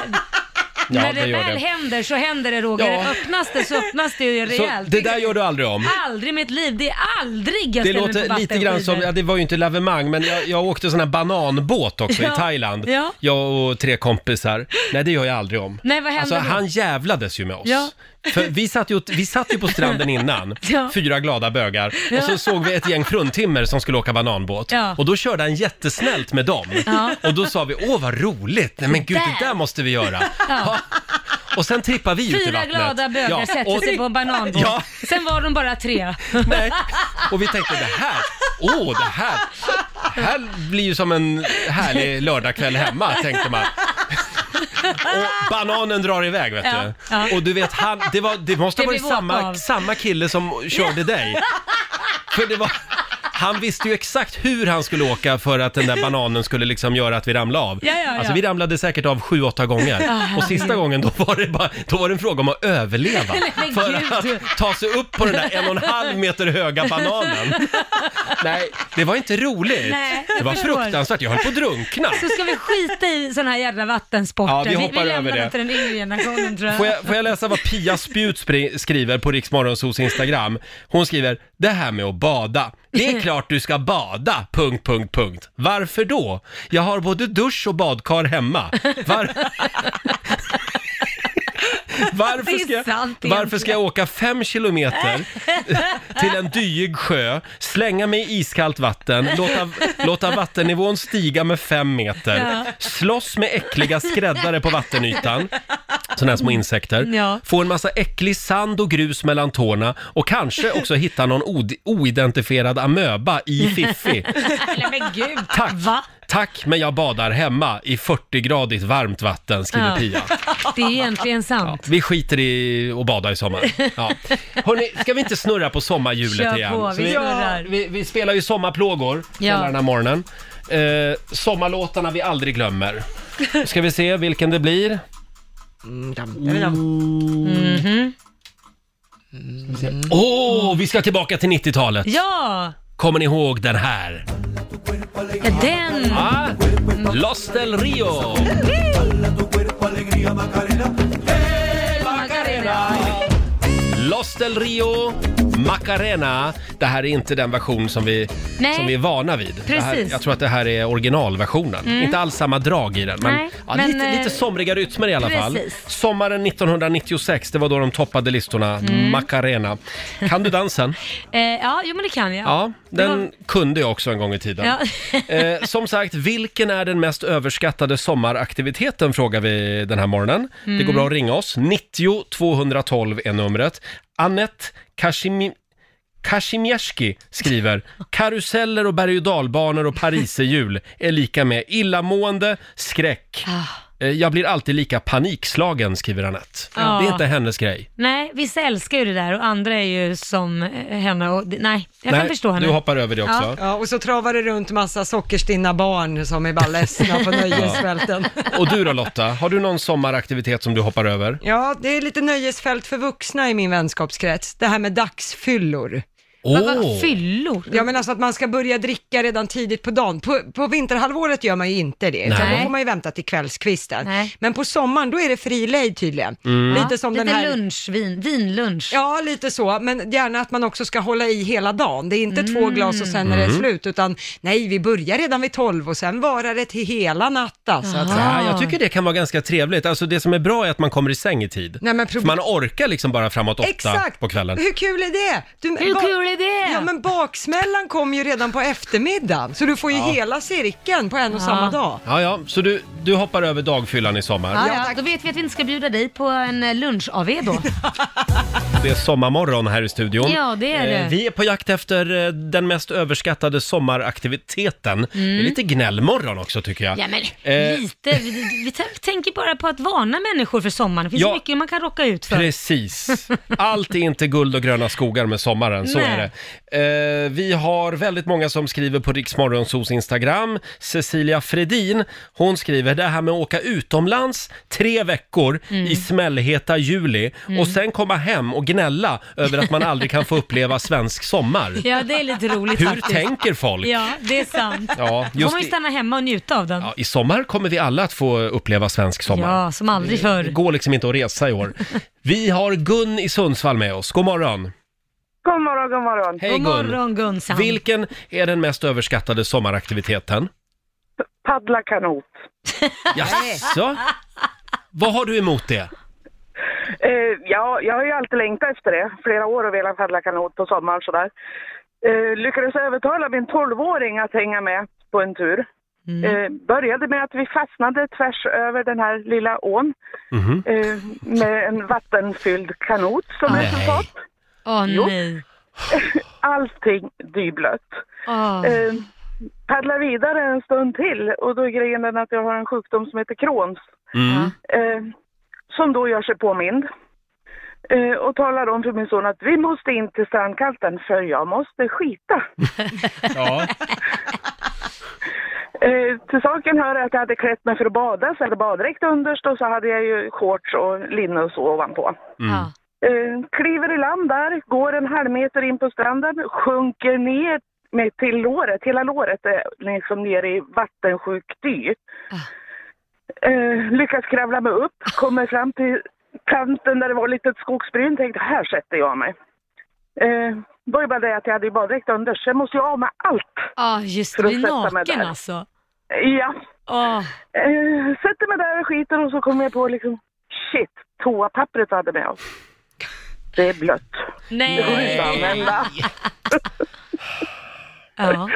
Speaker 3: när det
Speaker 1: det gör
Speaker 3: väl
Speaker 1: det.
Speaker 3: händer så händer det Roger.
Speaker 1: Ja.
Speaker 3: Öppnas det så öppnas det ju
Speaker 1: Så
Speaker 3: rejält.
Speaker 1: det där gör du aldrig om?
Speaker 3: Aldrig i mitt liv, det är aldrig jag
Speaker 1: Det
Speaker 3: ställer mig på
Speaker 1: låter lite
Speaker 3: vattenskidor.
Speaker 1: grann som, ja, det var ju inte lavemang, men jag, jag åkte sån här bananbåt också i
Speaker 3: Ja.
Speaker 1: Thailand.
Speaker 3: Ja.
Speaker 1: Jag och tre kompisar. Nej, det gör jag aldrig om.
Speaker 3: Nej, vad
Speaker 1: alltså,
Speaker 3: hände då?
Speaker 1: han jävlades ju med oss.
Speaker 3: Ja.
Speaker 1: För vi satt, ju, vi satt ju på stranden innan,
Speaker 3: Ja.
Speaker 1: fyra glada bögar, och så såg vi ett gäng fruntimmer som skulle åka bananbåt.
Speaker 3: Ja.
Speaker 1: Och då körde han jättesnällt med dem.
Speaker 3: Ja.
Speaker 1: Och då sa vi, åh vad roligt, nej men gud det
Speaker 3: Där.
Speaker 1: där måste vi göra. Ja. Och sen trippade vi ut i
Speaker 3: Fyra
Speaker 1: vattnet.
Speaker 3: glada bögar
Speaker 1: Ja,
Speaker 3: sätter
Speaker 1: och-
Speaker 3: sig på en bananbåt.
Speaker 1: Ja.
Speaker 3: Sen var de bara tre.
Speaker 1: Nej. Och vi tänkte det här, åh oh, det här, det här blir ju som en härlig lördagkväll hemma, tänkte man. Och bananen drar iväg vet
Speaker 3: Ja,
Speaker 1: du.
Speaker 3: ja.
Speaker 1: Och du vet, han, det, var, det måste
Speaker 3: Det
Speaker 1: ha varit
Speaker 3: blir våt
Speaker 1: samma,
Speaker 3: av.
Speaker 1: samma kille som körde dig. För det var, han visste ju exakt hur han skulle åka för att den där bananen skulle liksom göra att vi ramlade av.
Speaker 3: Ja, ja, ja.
Speaker 1: Alltså vi ramlade säkert av sju, åtta gånger. Och sista gången då var, det bara, då var det en fråga om att överleva.
Speaker 3: Nej, men
Speaker 1: För
Speaker 3: gud.
Speaker 1: att ta sig upp på den där en och en halv meter höga bananen. Nej, det var inte roligt.
Speaker 3: Nej, jag
Speaker 1: det var
Speaker 3: förstår.
Speaker 1: fruktansvärt, jag höll på att drunkna.
Speaker 3: Så ska vi skita i sådana här jävla vattensporter.
Speaker 1: Ja, vi
Speaker 3: vi,
Speaker 1: hoppar
Speaker 3: lämnar
Speaker 1: över det.
Speaker 3: till den yngre generationen tror jag.
Speaker 1: Får jag, får jag läsa vad Pia Spjut spri- skriver på Riksmorgonsos Instagram? Hon skriver, det här med att bada. Det är klart du ska bada, punkt, punkt, punkt. Varför då? Jag har både dusch och badkar hemma. Var... Varför ska,
Speaker 3: Det är sant
Speaker 1: jag, varför ska jag åka fem kilometer till en dyig sjö, slänga mig i iskallt vatten, låta, låta vattennivån stiga med fem meter, slåss med äckliga skräddare på vattenytan, sådana här små insekter,
Speaker 3: Mm, Ja.
Speaker 1: få en massa äcklig sand och grus mellan tårna och kanske också hitta någon od- oidentifierad amöba i Fiffi.
Speaker 3: Nej, men gud.
Speaker 1: Tack!
Speaker 3: Va?
Speaker 1: Tack, men jag badar hemma i 40-gradigt varmt vatten, skriver
Speaker 3: Ja.
Speaker 1: Pia.
Speaker 3: Det är ju egentligen sant.
Speaker 1: Vi skiter i att bada i sommar. Ja. Hörrni, ska vi inte snurra på sommarhjulet
Speaker 3: Kör
Speaker 1: igen?
Speaker 3: på,
Speaker 1: Så
Speaker 3: vi snurrar.
Speaker 1: vi, vi spelar ju sommarplågor
Speaker 3: Ja.
Speaker 1: hela den här morgonen. Eh, sommarlåtarna vi aldrig glömmer. Då ska vi se vilken det blir.
Speaker 3: Mm.
Speaker 1: Åh, vi ska tillbaka till 90-talet.
Speaker 3: Ja,
Speaker 1: Kommer ni ihåg den här?
Speaker 3: ja den.
Speaker 1: Ah, Los del Rio! Los del Rio, Macarena. Det här är inte den version som vi,
Speaker 3: Nej.
Speaker 1: som vi är vana vid. Det Här,
Speaker 3: Precis. Mm.
Speaker 1: jag tror att det här är originalversionen. Inte alls samma drag i den, men,
Speaker 3: Nej,
Speaker 1: ja,
Speaker 3: men,
Speaker 1: lite,
Speaker 3: eh,
Speaker 1: lite somriga rytmer i alla fall.
Speaker 3: precis.
Speaker 1: Sommaren 1996, det var då de toppade listorna.
Speaker 3: Mm.
Speaker 1: Macarena. Kan du dansen?
Speaker 3: Eh, ja, jo men det kan jag.
Speaker 1: Ja, den
Speaker 3: var-
Speaker 1: kunde jag också en gång i tiden.
Speaker 3: Ja.
Speaker 1: eh, som sagt, vilken är den mest överskattade sommaraktiviteten frågar vi den här morgonen. Det
Speaker 3: Mm.
Speaker 1: går bra att ringa oss. 90 212 är numret. Annette Kashimi... Kashimierski skriver “Karuseller och berg och dalbanor och pariserhjul är lika med illamående, skräck, Eh, Jag blir alltid lika panikslagen, skriver Anette.
Speaker 3: Ah. Ja.
Speaker 1: Det är inte hennes grej.
Speaker 3: Nej, vissa älskar ju det där och andra är ju som eh, henne och det- nej, jag kan
Speaker 1: Nej,
Speaker 3: förstå henne.
Speaker 1: Du hoppar över det också.
Speaker 2: Ja, och så travar det runt massa sockerstinna barn som är bara ledsna på nöjesfälten.
Speaker 1: Och du då Lotta, har du någon sommaraktivitet som du hoppar över?
Speaker 2: Ja, det är lite nöjesfält för vuxna i min vänskapskrets. Det här med dagsfyllor.
Speaker 3: Men vad
Speaker 1: Åh.
Speaker 3: fyllor?
Speaker 2: Jag menar så att man ska börja dricka redan tidigt på dagen. På, på vinterhalvåret gör man ju inte det, utan
Speaker 1: Nej.
Speaker 2: då får man ju vänta till kvällskvisten.
Speaker 3: Nej. Mm.
Speaker 2: Men på sommaren, då är det fri lejd tydligen. Lite som
Speaker 3: Lite
Speaker 2: den här...
Speaker 3: lunchvin, vinlunch.
Speaker 2: Ja, lite så, men gärna att man också ska hålla i hela dagen. Det är inte två
Speaker 3: Mm.
Speaker 2: glas och sen är det slut, utan nej, vi börjar redan vid tolv och sen varar det till hela natten. Så att säga.
Speaker 1: Ja,
Speaker 3: Ah.
Speaker 1: jag tycker det kan vara ganska trevligt. Alltså det som är bra är att man kommer i säng i tid.
Speaker 2: Nej, men
Speaker 1: För man orkar liksom bara framåt åtta
Speaker 2: Exakt!
Speaker 1: på kvällen.
Speaker 2: Hur kul är det? Du,
Speaker 3: Hur
Speaker 2: va-
Speaker 3: kul är det?
Speaker 2: Ja, men baksmällan kom ju redan på eftermiddagen, så du får ju hela cirkeln på en och samma dag.
Speaker 1: Ja, ja, så du, du hoppar över dagfyllan i sommar.
Speaker 3: Ja,
Speaker 2: Ja,
Speaker 3: ja,
Speaker 2: tack.
Speaker 3: då vet vi att vi inte ska bjuda dig på en eh, lunch-AV då.
Speaker 1: Det är sommarmorgon här i studion.
Speaker 3: Ja, det är det.
Speaker 1: Eh, Vi är på jakt efter eh, den mest överskattade sommaraktiviteten. Det är lite gnällmorgon också tycker jag.
Speaker 3: Mm. Ja men
Speaker 1: Eh,
Speaker 3: lite, vi, vi t- tänker bara på att varna människor för sommaren. Det finns
Speaker 1: Ja.
Speaker 3: mycket man kan rocka ut för.
Speaker 1: Precis. Allt är inte guld och gröna skogar med sommaren, så
Speaker 3: Nej.
Speaker 1: är det. Eh, vi har väldigt många som skriver på Riksmorgonsos Instagram. Cecilia Fredin, hon skriver det här med att åka utomlands tre veckor
Speaker 3: Mm.
Speaker 1: i smällheta juli och sen komma hem och gnälla över att man aldrig kan få uppleva svensk sommar.
Speaker 3: Ja det är lite roligt
Speaker 1: Hur
Speaker 3: faktiskt.
Speaker 1: tänker folk? Ja.
Speaker 3: Ja det är sant. Då får
Speaker 1: just
Speaker 3: man ju
Speaker 1: i,
Speaker 3: stanna hemma och njuta av den.
Speaker 1: ja, I sommar kommer vi alla att få uppleva svensk sommar.
Speaker 3: Ja, som aldrig förr.
Speaker 1: Det går liksom inte att resa i år. Vi har Gun i Sundsvall med oss. God morgon!
Speaker 9: God morgon, god morgon.
Speaker 1: Hej
Speaker 3: God
Speaker 1: Gun!
Speaker 3: morgon Gunsan.
Speaker 1: Vilken är den mest överskattade sommaraktiviteten?
Speaker 9: Paddla kanot.
Speaker 1: Jaså? Vad har du emot det?
Speaker 9: Eh, ja, jag har ju alltid längtat efter det. Flera år och velat paddla kanot på sommaren sådär. Eh, lyckades övertala min 12-åring att hänga med på en tur. Eh, började med att vi fastnade tvärs över den här lilla ån
Speaker 1: Mhm.
Speaker 9: eh, med en vattenfylld kanot som
Speaker 1: Nej.
Speaker 9: resultat.
Speaker 3: Åh
Speaker 9: Jo.
Speaker 3: nej.
Speaker 9: Allting dyblött.
Speaker 3: Åh.
Speaker 9: Eh, paddlar vidare en stund till och då är grejen den att jag har en sjukdom som heter Crohns.
Speaker 1: Mm.
Speaker 9: eh, som då gör sig påmind eh, och talar om för min son att vi måste in till strandkanten för jag måste skita.
Speaker 1: Ja.
Speaker 9: Eh, till saken hör att jag hade klätt mig för att bada, så jag hade baddräkt underst och så hade jag ju shorts och linne och så ovanpå.
Speaker 1: Mm.
Speaker 3: Ja.
Speaker 9: Eh, kliver i land där, går en halv meter in på stranden, sjunker ner med till låret. Hela låret är liksom nere i vattensjuk typ. dy. Eh, lyckas kravla mig upp, kommer fram till kanten där det var lite skogsbryn. Tänkte här sätter jag mig. Eh, det var ju bara det att jag hade ju baddräkt under så jag måste ju av med allt.
Speaker 3: Ja, just det.
Speaker 9: För att
Speaker 3: Du är
Speaker 9: sätta mig
Speaker 3: naken
Speaker 9: där.
Speaker 3: alltså.
Speaker 9: Ja,
Speaker 3: Åh.
Speaker 9: eh, sätter mig där och skiter och så kommer jag på liksom shit, toapappret jag hade med oss. Det är blött. Det går inte att
Speaker 3: Nej.
Speaker 9: använda.
Speaker 3: Ja.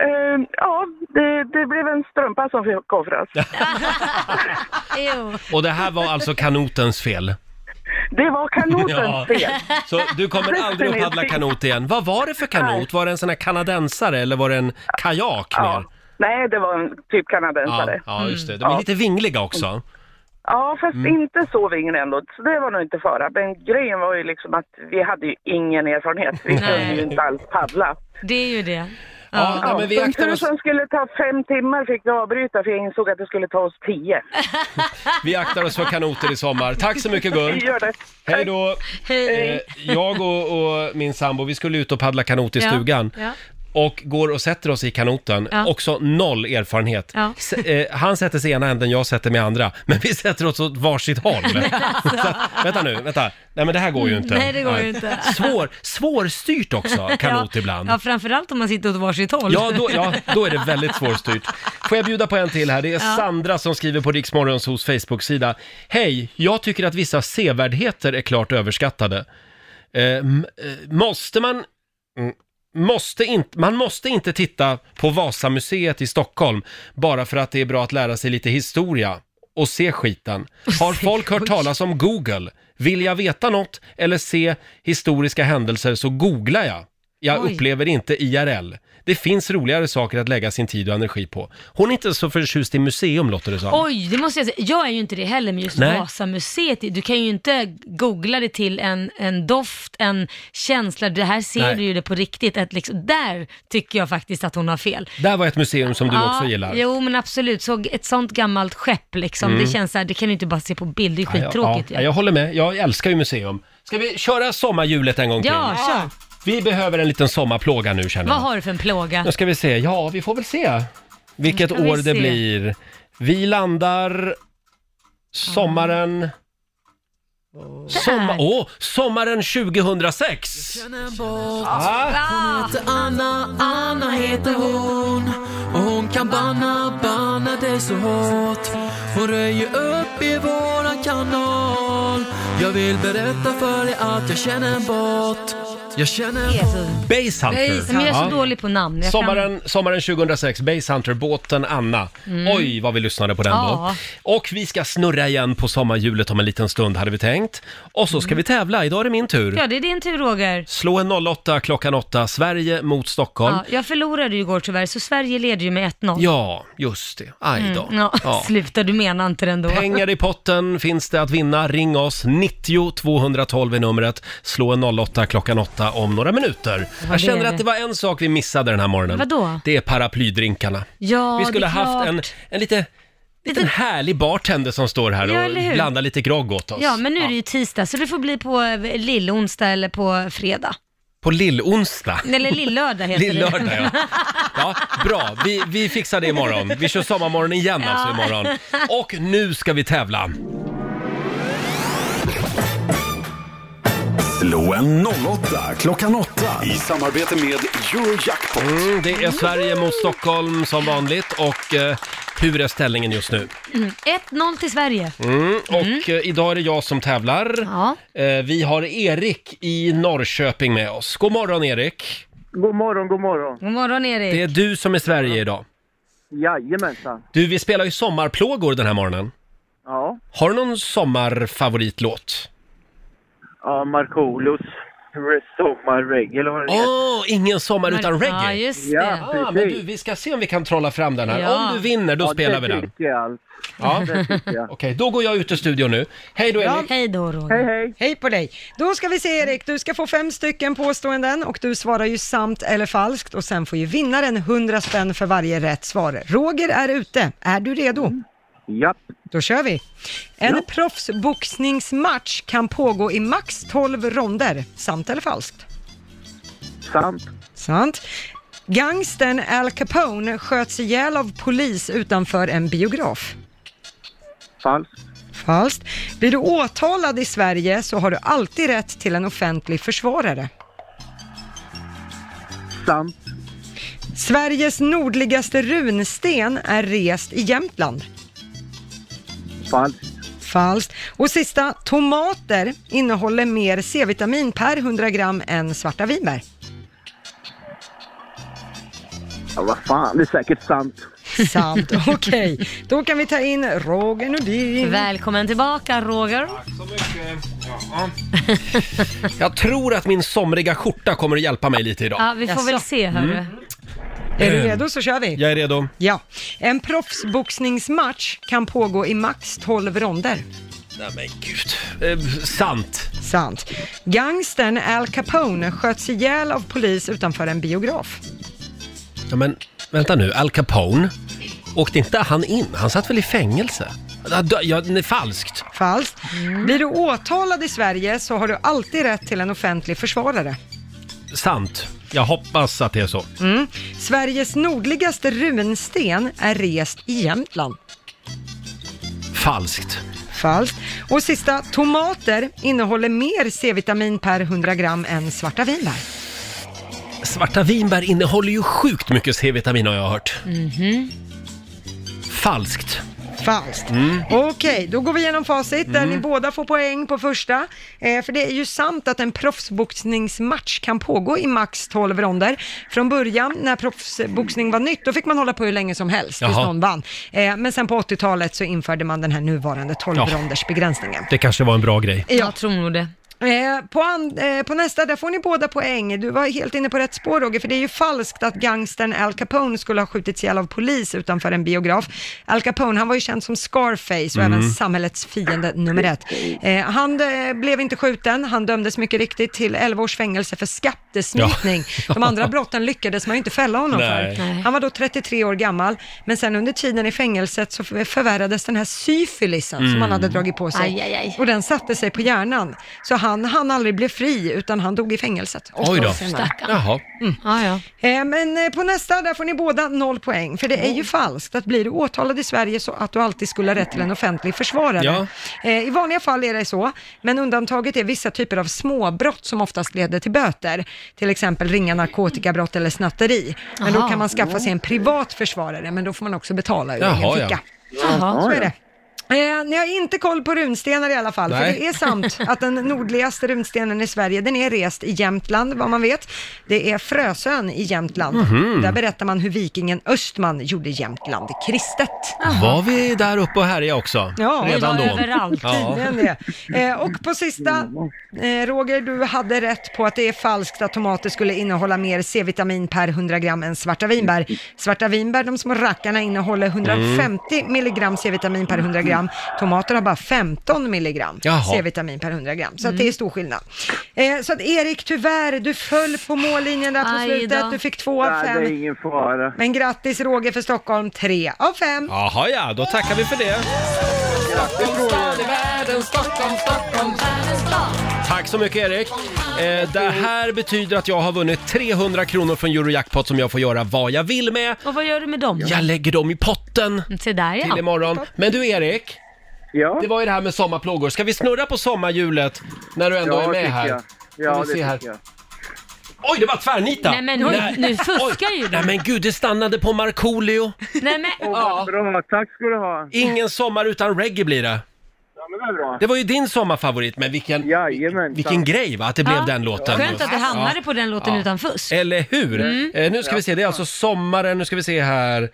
Speaker 9: Eh, ja, det, det blev en strumpa som fick offras.
Speaker 3: Jo.
Speaker 1: Och det här var alltså kanotens fel.
Speaker 9: Det var
Speaker 1: Ja.
Speaker 9: kanotens fel.
Speaker 1: Så du kommer aldrig att paddla kanot igen. Vad var det för kanot? Var det en sån här kanadensare eller var det en kajak
Speaker 9: Ja.
Speaker 1: mer?
Speaker 9: Nej, det Mm. var en typ
Speaker 1: Ja,
Speaker 9: kanadensare. Ja,
Speaker 1: ja just det. De är lite vingliga också.
Speaker 9: fast
Speaker 1: Mm.
Speaker 9: inte så vinglig ändå. Så det var nog inte fara. Men grejen var ju liksom att vi hade ju ingen erfarenhet. Vi kunde ju inte alls paddla.
Speaker 3: Det är ju det.
Speaker 1: Ja, nej,
Speaker 9: Ja,
Speaker 1: men vi
Speaker 9: den
Speaker 1: aktar
Speaker 9: tur
Speaker 1: oss,
Speaker 9: som skulle ta fem timmar fick vi avbryta för jag insåg att det skulle ta oss tio.
Speaker 1: vi aktar oss för kanoter i sommar. Tack så mycket Gun!
Speaker 9: Vi gör det.
Speaker 1: Hej då! Eh, jag och, och min sambo, vi skulle ut och paddla kanot i
Speaker 3: Ja,
Speaker 1: stugan.
Speaker 3: ja.
Speaker 1: Och går och sätter oss i kanoten.
Speaker 3: Ja.
Speaker 1: Också noll erfarenhet.
Speaker 3: Ja.
Speaker 1: S- eh, han sätter sig i ena änden, jag sätter mig i andra. Men vi sätter oss åt varsitt håll. Så, att- vänta nu, vänta. Nej men det här går ju inte.
Speaker 3: alltså. Nej, det går ju inte.
Speaker 1: Svår, svårstyrt också, kanot
Speaker 3: ja.
Speaker 1: ibland.
Speaker 3: Ja, framförallt om man sitter åt varsitt håll.
Speaker 1: Ja då, ja, då är det väldigt svårstyrt. Får jag bjuda på en till här? Det är Sandra som skriver på Riksmorgons hos Facebook-sida. Hej, jag tycker att vissa sevärdheter är klart överskattade. Eh, m- eh, måste man... mm, Måste inte, man måste inte titta på Vasamuseet i Stockholm bara för att det är bra att lära sig lite historia och se skiten. Har folk hört talas om Google? Vill jag veta något eller se historiska händelser så googlar jag. Jag
Speaker 3: Oj.
Speaker 1: upplever inte IRL. Det finns roligare saker att lägga sin tid och energi på. Hon är inte så förtjust i museum låter det som.
Speaker 3: Oj, det måste jag säga. Jag är ju inte det heller med just
Speaker 1: Nej.
Speaker 3: Vasamuseet. Du kan ju inte googla det till en, en doft, en känsla. Det här ser
Speaker 1: Nej.
Speaker 3: du ju det på riktigt. Att liksom, där tycker jag faktiskt att hon har fel.
Speaker 1: Där var ett museum som du
Speaker 3: Ja,
Speaker 1: också gillar.
Speaker 3: Jo, men absolut. Så ett sånt gammalt skepp liksom.
Speaker 1: Mm.
Speaker 3: Det känns så här, det kan du inte bara se på bild. Det är
Speaker 1: Ja,
Speaker 3: skittråkigt.
Speaker 1: Ja, jag håller med. Jag älskar ju museum. Ska vi köra sommarhjulet en gång till?
Speaker 3: Ja, kör.
Speaker 1: Vi behöver en liten sommarplåga nu känner
Speaker 3: Vad
Speaker 1: jag.
Speaker 3: har du för en plåga?
Speaker 1: Nu ska vi se. Ja, vi får väl se vilket
Speaker 3: Ska vi
Speaker 1: år det
Speaker 3: se.
Speaker 1: blir. Vi landar
Speaker 3: Mm.
Speaker 1: sommaren... Sommar... Åh, sommaren 2006! Ah.
Speaker 10: Anna, Anna heter hon och hon kan banna, banna dig så hårt. Hon röjer upp i våran kanal. Jag vill berätta för dig att jag känner en båt. Jag känner en båt.
Speaker 1: Base Hunter.
Speaker 3: Men jag är så
Speaker 1: Ja.
Speaker 3: dålig på namn. Jag
Speaker 1: Sommaren, sommaren 2006, Base Hunter, båten Anna.
Speaker 3: Mm.
Speaker 1: Oj, vad vi lyssnade på den då.
Speaker 3: Ja.
Speaker 1: Och vi ska snurra igen på sommarhjulet om en liten stund, hade vi tänkt. Och så ska vi tävla, idag är det min tur.
Speaker 3: Kan... Mm. Ja, det är din tur Roger.
Speaker 1: Slå en 08 klockan 8, Sverige mot Stockholm.
Speaker 3: Ja, jag förlorade ju igår tyvärr, så Sverige leder ju med 1-0.
Speaker 1: Ja, just det. Aj då.
Speaker 3: Mm, ja,
Speaker 1: Ja.
Speaker 3: Sluta, du menar inte det ändå.
Speaker 1: Pengar i potten finns det att vinna. Ring oss, 90 212 är numret. Slå en 08 klockan 8 om några minuter.
Speaker 3: Ja,
Speaker 1: Jag
Speaker 3: det
Speaker 1: känner
Speaker 3: är
Speaker 1: att
Speaker 3: det.
Speaker 1: det var en sak vi missade den här morgonen.
Speaker 3: Vadå?
Speaker 1: Det är paraplydrinkarna.
Speaker 3: Ja,
Speaker 1: vi skulle
Speaker 3: det är
Speaker 1: ha haft
Speaker 3: klart.
Speaker 1: en, en lite, liten härlig bartender som står här
Speaker 3: Ja,
Speaker 1: och
Speaker 3: eller hur?
Speaker 1: blandar lite grogg åt oss.
Speaker 3: Ja, men nu är det ju tisdag, så det får bli på eh, lillonsdag eller på fredag.
Speaker 1: På lillonsdag.
Speaker 3: Eller lillördag heter det.
Speaker 1: Lillördag, ja. Ja, bra. Vi, vi fixar det imorgon. Vi kör sommarmorgon igen alltså
Speaker 3: Ja.
Speaker 1: imorgon. Och nu ska vi tävla.
Speaker 4: Slå en 08 klockan 8 i samarbete med Eurojackpot.
Speaker 1: Mm, det är Sverige mot Stockholm som vanligt och eh, hur är ställningen just nu?
Speaker 3: Mm. 1-0 till Sverige.
Speaker 1: Mm, och eh, idag är det jag som tävlar.
Speaker 3: Ja.
Speaker 1: Eh, vi har Erik i Norrköping med oss. God morgon Erik!
Speaker 11: God morgon, god morgon.
Speaker 3: God morgon Erik.
Speaker 1: Det är du som är Sverige idag.
Speaker 11: Jajamensan.
Speaker 1: Du, vi spelar ju sommarplågor den här morgonen.
Speaker 11: Ja,
Speaker 1: Har du någon sommarfavoritlåt?
Speaker 11: ja Markoolios sommarreggae eller vad det heter.
Speaker 1: Åh, ingen sommar utan reggae!
Speaker 3: Ja, just
Speaker 11: Ja.
Speaker 3: det.
Speaker 1: Ah, men du, vi ska se om vi kan trolla fram den här.
Speaker 3: Ja.
Speaker 1: Om du vinner, då
Speaker 11: Ja,
Speaker 1: spelar vi
Speaker 11: Det
Speaker 1: den.
Speaker 11: tycker jag alls.
Speaker 1: Ja.
Speaker 11: Det tycker jag.
Speaker 1: Okej, då går jag ut ur studion nu. Hej då Erik!
Speaker 3: Hej då Roger.
Speaker 11: Hej, hej.
Speaker 2: Hej på dig! Då ska vi se Erik, du ska få fem stycken påståenden och du svarar ju sant eller falskt och sen får ju vinnaren 100 spänn för varje rätt svar. Roger är ute, är du redo?
Speaker 11: Japp.
Speaker 2: Då kör vi! En proffsboxningsmatch kan pågå i max 12 ronder, sant eller falskt?
Speaker 11: Sant.
Speaker 2: Sant. Gangstern Al Capone sköts ihjäl av polis utanför en biograf.
Speaker 11: Falskt.
Speaker 2: Falskt. Blir du åtalad i Sverige så har du alltid rätt till en offentlig försvarare.
Speaker 11: Sant.
Speaker 2: Sveriges nordligaste runsten är rest i Jämtland.
Speaker 11: Falskt.
Speaker 2: Falskt. Och sista, tomater innehåller mer C-vitamin per 100 gram än svarta vinbär.
Speaker 11: Ja, vad fan. Det är säkert sant.
Speaker 2: Sant, okej. Då kan vi ta in Roger Nordin.
Speaker 3: Välkommen tillbaka Roger.
Speaker 1: Jag tror att min somriga skjorta kommer att hjälpa mig lite idag.
Speaker 3: Ja, vi får
Speaker 2: Jaså.
Speaker 3: väl se hörru.
Speaker 1: Mm.
Speaker 2: Är du redo så kör vi.
Speaker 1: Jag är redo.
Speaker 2: Ja. En proffsboxningsmatch kan pågå i max 12 ronder.
Speaker 1: Nej men gud. Eh, sant.
Speaker 2: Sant. Gangstern Al Capone sköts ihjäl av polis utanför en biograf.
Speaker 1: Ja, men vänta nu, Al Capone. Åkte inte han in? Han satt väl i fängelse? Ja, dö- Ja, det är falskt.
Speaker 2: Falskt. Blir du åtalad i Sverige så har du alltid rätt till en offentlig försvarare.
Speaker 1: Sant. Jag hoppas att det är så.
Speaker 2: Mm. Sveriges nordligaste runsten är rest i Jämtland.
Speaker 1: Falskt.
Speaker 2: Falskt. Och sista, tomater innehåller mer C-vitamin per 100 gram än svarta vinbär.
Speaker 1: Svarta vinbär innehåller ju sjukt mycket C-vitamin har jag hört. Falskt.
Speaker 2: Falskt. Okej, då går vi igenom facit där ni båda får poäng på första. Eh, för det är ju sant att en proffsboxningsmatch kan pågå i max 12 ronder. Från början när proffsboxning var nytt, då fick man hålla på hur länge som helst tills
Speaker 1: Jaha.
Speaker 2: någon vann. Eh, men sen på 80-talet så införde man den här nuvarande 12 ronders begränsningen.
Speaker 1: Det kanske var en bra grej.
Speaker 3: Jag tror nog det.
Speaker 2: Eh, på, an, eh, på nästa, där får ni båda poäng. Du var helt inne på rätt spår Roger, för det är ju falskt att gangstern Al Capone skulle ha skjutits ihjäl av polis utanför en biograf. Al Capone, han var ju känd som Scarface och
Speaker 12: Mm.
Speaker 2: även samhällets fiende nummer ett. Eh, han eh, blev inte skjuten, han dömdes mycket riktigt till 11 års fängelse för skattesmitning.
Speaker 12: Ja.
Speaker 2: De andra brotten lyckades man ju inte fälla honom
Speaker 12: Nej.
Speaker 2: för.
Speaker 12: Nej.
Speaker 2: Han var då 33 år gammal, men sen under tiden i fängelset så förvärrades den här syfilisen som
Speaker 12: Mm.
Speaker 2: han hade dragit på sig.
Speaker 3: Aj, aj, aj.
Speaker 2: Och den satte sig på hjärnan. Så han han aldrig blev fri, utan han dog i fängelset. Åtta
Speaker 1: Oj
Speaker 2: år
Speaker 1: då.
Speaker 2: senare.
Speaker 1: Jaha.
Speaker 3: Ja, ja.
Speaker 2: Eh, Men eh, på nästa, där får ni båda noll poäng. För det är ju falskt att blir du åtalad i Sverige så att du alltid skulle ha rätt till en offentlig försvarare.
Speaker 12: Ja.
Speaker 2: Eh, I vanliga fall är det så, men undantaget är vissa typer av småbrott som oftast leder till böter. Till exempel ringa narkotikabrott eller snatteri. Men då
Speaker 12: Aha.
Speaker 2: kan man skaffa sig en privat försvarare, men då får man också betala ur egen
Speaker 12: Jaha, ja.
Speaker 2: ficka.
Speaker 12: Jaha.
Speaker 2: Så är det. Eh, ni har inte koll på runstenar i alla fall,
Speaker 12: Nej.
Speaker 2: för det är sant att den nordligaste runstenen i Sverige, den är rest i Jämtland, vad man vet. Det är Frösön i Jämtland.
Speaker 1: Mhm.
Speaker 2: Där berättar man hur vikingen Östman gjorde Jämtland kristet.
Speaker 1: Var vi där uppe och härjade också?
Speaker 2: Ja,
Speaker 1: Redan då?
Speaker 2: Tydligen det. Eh, och på sista, eh, Roger, du hade rätt på att det är falskt att tomater skulle innehålla mer C-vitamin per 100 gram än svarta vinbär. Svarta vinbär, de små rackarna, innehåller 150
Speaker 1: Mm.
Speaker 2: milligram C-vitamin per 100 gram. Tomater har bara 15 milligram
Speaker 12: Jaha.
Speaker 2: C-vitamin per 100 gram. Så att
Speaker 1: Mm.
Speaker 2: det är stor skillnad. Eh, så att Erik, tyvärr, du föll på mållinjen där på
Speaker 12: Aj då.
Speaker 2: slutet. Du fick två av
Speaker 11: Nej, det är
Speaker 2: fem.
Speaker 11: ingen fara.
Speaker 2: Men grattis Roger för Stockholm, tre av fem.
Speaker 1: Jaha, ja, då tackar vi för det. Tack så mycket Erik. Eh, det här betyder att jag har vunnit 300 kronor från Eurojackpot som jag får göra vad jag vill med.
Speaker 3: Och vad gör du med dem?
Speaker 1: Jag lägger dem i potten
Speaker 3: Se där ja.
Speaker 1: till imorgon. Men du Erik, det var ju det här med sommarplågor. Ska vi snurra på sommarhjulet när du ändå
Speaker 11: Ja,
Speaker 1: är med
Speaker 11: tycker
Speaker 1: här?
Speaker 11: jag.
Speaker 1: Ska
Speaker 11: Ja,
Speaker 1: vi
Speaker 11: det
Speaker 1: se här.
Speaker 11: tycker jag.
Speaker 1: Oj, det var tvärnita!
Speaker 3: Nej, men nu- nu fuskar ju du.
Speaker 1: Nej men gud, det stannade på Markoolio.
Speaker 3: Nej men,
Speaker 11: Åh, vad bra. Tack ska du ha.
Speaker 1: Ingen sommar utan reggae blir det.
Speaker 11: Ja, men vad bra.
Speaker 1: Det var ju din sommarfavorit, men vilken, vilken grej va, att det blev
Speaker 3: Ja.
Speaker 1: den låten.
Speaker 3: Skönt att du hamnade på den låten
Speaker 1: Ja.
Speaker 3: utan fusk.
Speaker 1: Eller hur?
Speaker 3: Mm.
Speaker 1: Eh, nu ska vi se, det är alltså sommaren, nu ska vi se här.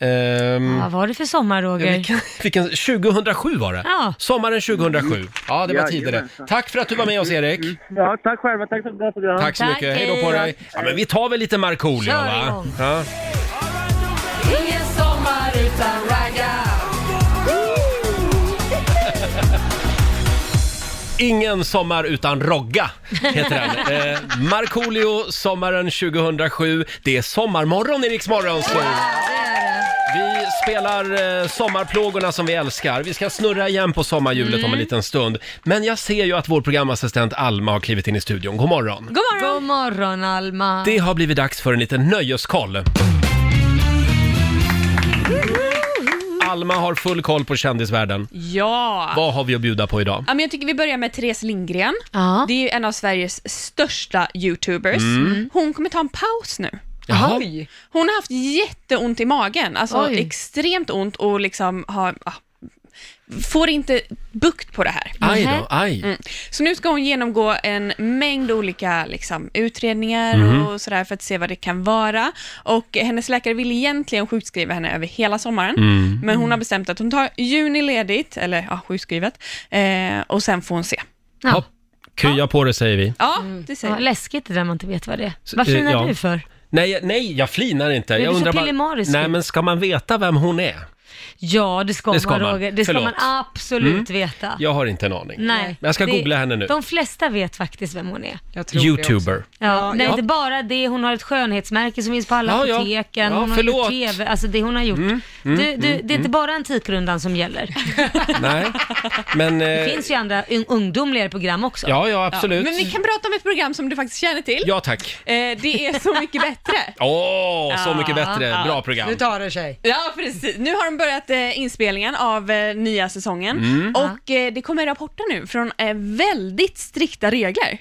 Speaker 1: Ehm,
Speaker 3: Vad var det för sommar Roger?
Speaker 1: vilken, vilken, 2007 var det.
Speaker 3: Ja.
Speaker 1: Sommaren 2007. Ja, det var
Speaker 11: Ja,
Speaker 1: tider det.
Speaker 11: jajamensan.
Speaker 1: Tack för att du var med oss Erik.
Speaker 11: Ja, tack själva. Tack för ett bra program.
Speaker 1: Tack så mycket, hej då på dig. Ja, men vi tar väl lite Markoolio
Speaker 11: Kör
Speaker 1: va?
Speaker 11: igång.
Speaker 1: Ja.
Speaker 12: Ingen sommar utan ragga.
Speaker 1: Ingen sommar utan Rogga heter den. Eh, Markoolio, sommaren 2007. Det är sommarmorgon i Rix Morgon, så. Vi spelar eh, sommarplågorna som vi älskar. Vi ska snurra igen på sommarhjulet om en liten stund. Men jag ser ju att vår programassistent Alma har klivit in i studion. God morgon!
Speaker 3: God morgon. God morgon Alma.
Speaker 1: Det har blivit dags för en liten nöjeskoll. Alma har full koll på kändisvärlden.
Speaker 8: Ja.
Speaker 1: Vad har vi att bjuda på idag?
Speaker 8: Ja, men jag tycker vi börjar med Therese Lindgren. Det är ju en av Sveriges största YouTubers.
Speaker 1: Mm.
Speaker 8: Hon kommer ta en paus nu.
Speaker 1: Jaha.
Speaker 8: Hon har haft jätteont i magen, alltså
Speaker 3: Oj.
Speaker 8: extremt ont och liksom har, ah, får inte bukt på det här.
Speaker 1: Aj då, aj.
Speaker 8: Mm. Så nu ska hon genomgå en mängd olika liksom, utredningar
Speaker 1: Mhm.
Speaker 8: och sådär för att se vad det kan vara. Och hennes läkare vill egentligen sjukskriva henne över hela sommaren,
Speaker 12: Mm.
Speaker 8: men hon har bestämt att hon tar juni ledigt, eller ja, sjukskrivet, eh, och sen får hon se.
Speaker 1: Ja. Krya på det säger vi.
Speaker 8: Ja, det säger
Speaker 3: Vad läskigt det där man inte vet vad det är.
Speaker 1: Så,
Speaker 3: Vad
Speaker 1: eh,
Speaker 3: flinar
Speaker 1: ja.
Speaker 3: du för?
Speaker 1: Nej, nej, jag flinar inte.
Speaker 3: Men du
Speaker 1: Jag
Speaker 3: är så
Speaker 1: undrar bara,
Speaker 3: pillemarisk. Ah.
Speaker 1: nej men ska man veta vem hon är?
Speaker 3: Ja, det ska,
Speaker 1: Det ska
Speaker 3: man,
Speaker 1: man.
Speaker 3: Roger. Det ska
Speaker 1: Förlåt.
Speaker 3: man absolut
Speaker 1: Mm.
Speaker 3: veta.
Speaker 1: Jag har inte en aning.
Speaker 3: Nej.
Speaker 1: Men jag ska
Speaker 3: Det-
Speaker 1: googla henne nu.
Speaker 3: De flesta vet faktiskt vem hon är.
Speaker 1: Youtuber.
Speaker 3: Ja, nej,
Speaker 1: ja.
Speaker 3: inte bara det. Hon har ett skönhetsmärke som finns på alla
Speaker 1: Ja, ja.
Speaker 3: apoteken.
Speaker 1: Ja,
Speaker 3: hon har
Speaker 1: förlåt.
Speaker 3: gjort TV. Alltså det hon har gjort.
Speaker 1: mm,
Speaker 3: du, du,
Speaker 1: mm,
Speaker 3: det är inte
Speaker 1: mm.
Speaker 3: bara Antikrundan som gäller.
Speaker 1: Nej, men...
Speaker 3: Det
Speaker 1: Eh,
Speaker 3: finns ju andra un- ungdomligare program också.
Speaker 1: Ja, ja, absolut.
Speaker 8: Men vi kan prata om ett program som du faktiskt känner till.
Speaker 1: ja tack.
Speaker 8: Eh, det är Så mycket bättre.
Speaker 1: Åh,
Speaker 3: Ah,
Speaker 1: så mycket
Speaker 8: Ja,
Speaker 1: bättre.
Speaker 8: ja.
Speaker 1: Bra program.
Speaker 2: tar det sig.
Speaker 8: Ja, precis. Nu har de börjat eh, inspelningen av eh, nya säsongen
Speaker 1: Mm.
Speaker 8: och eh, det kommer rapporter nu från eh, väldigt strikta regler.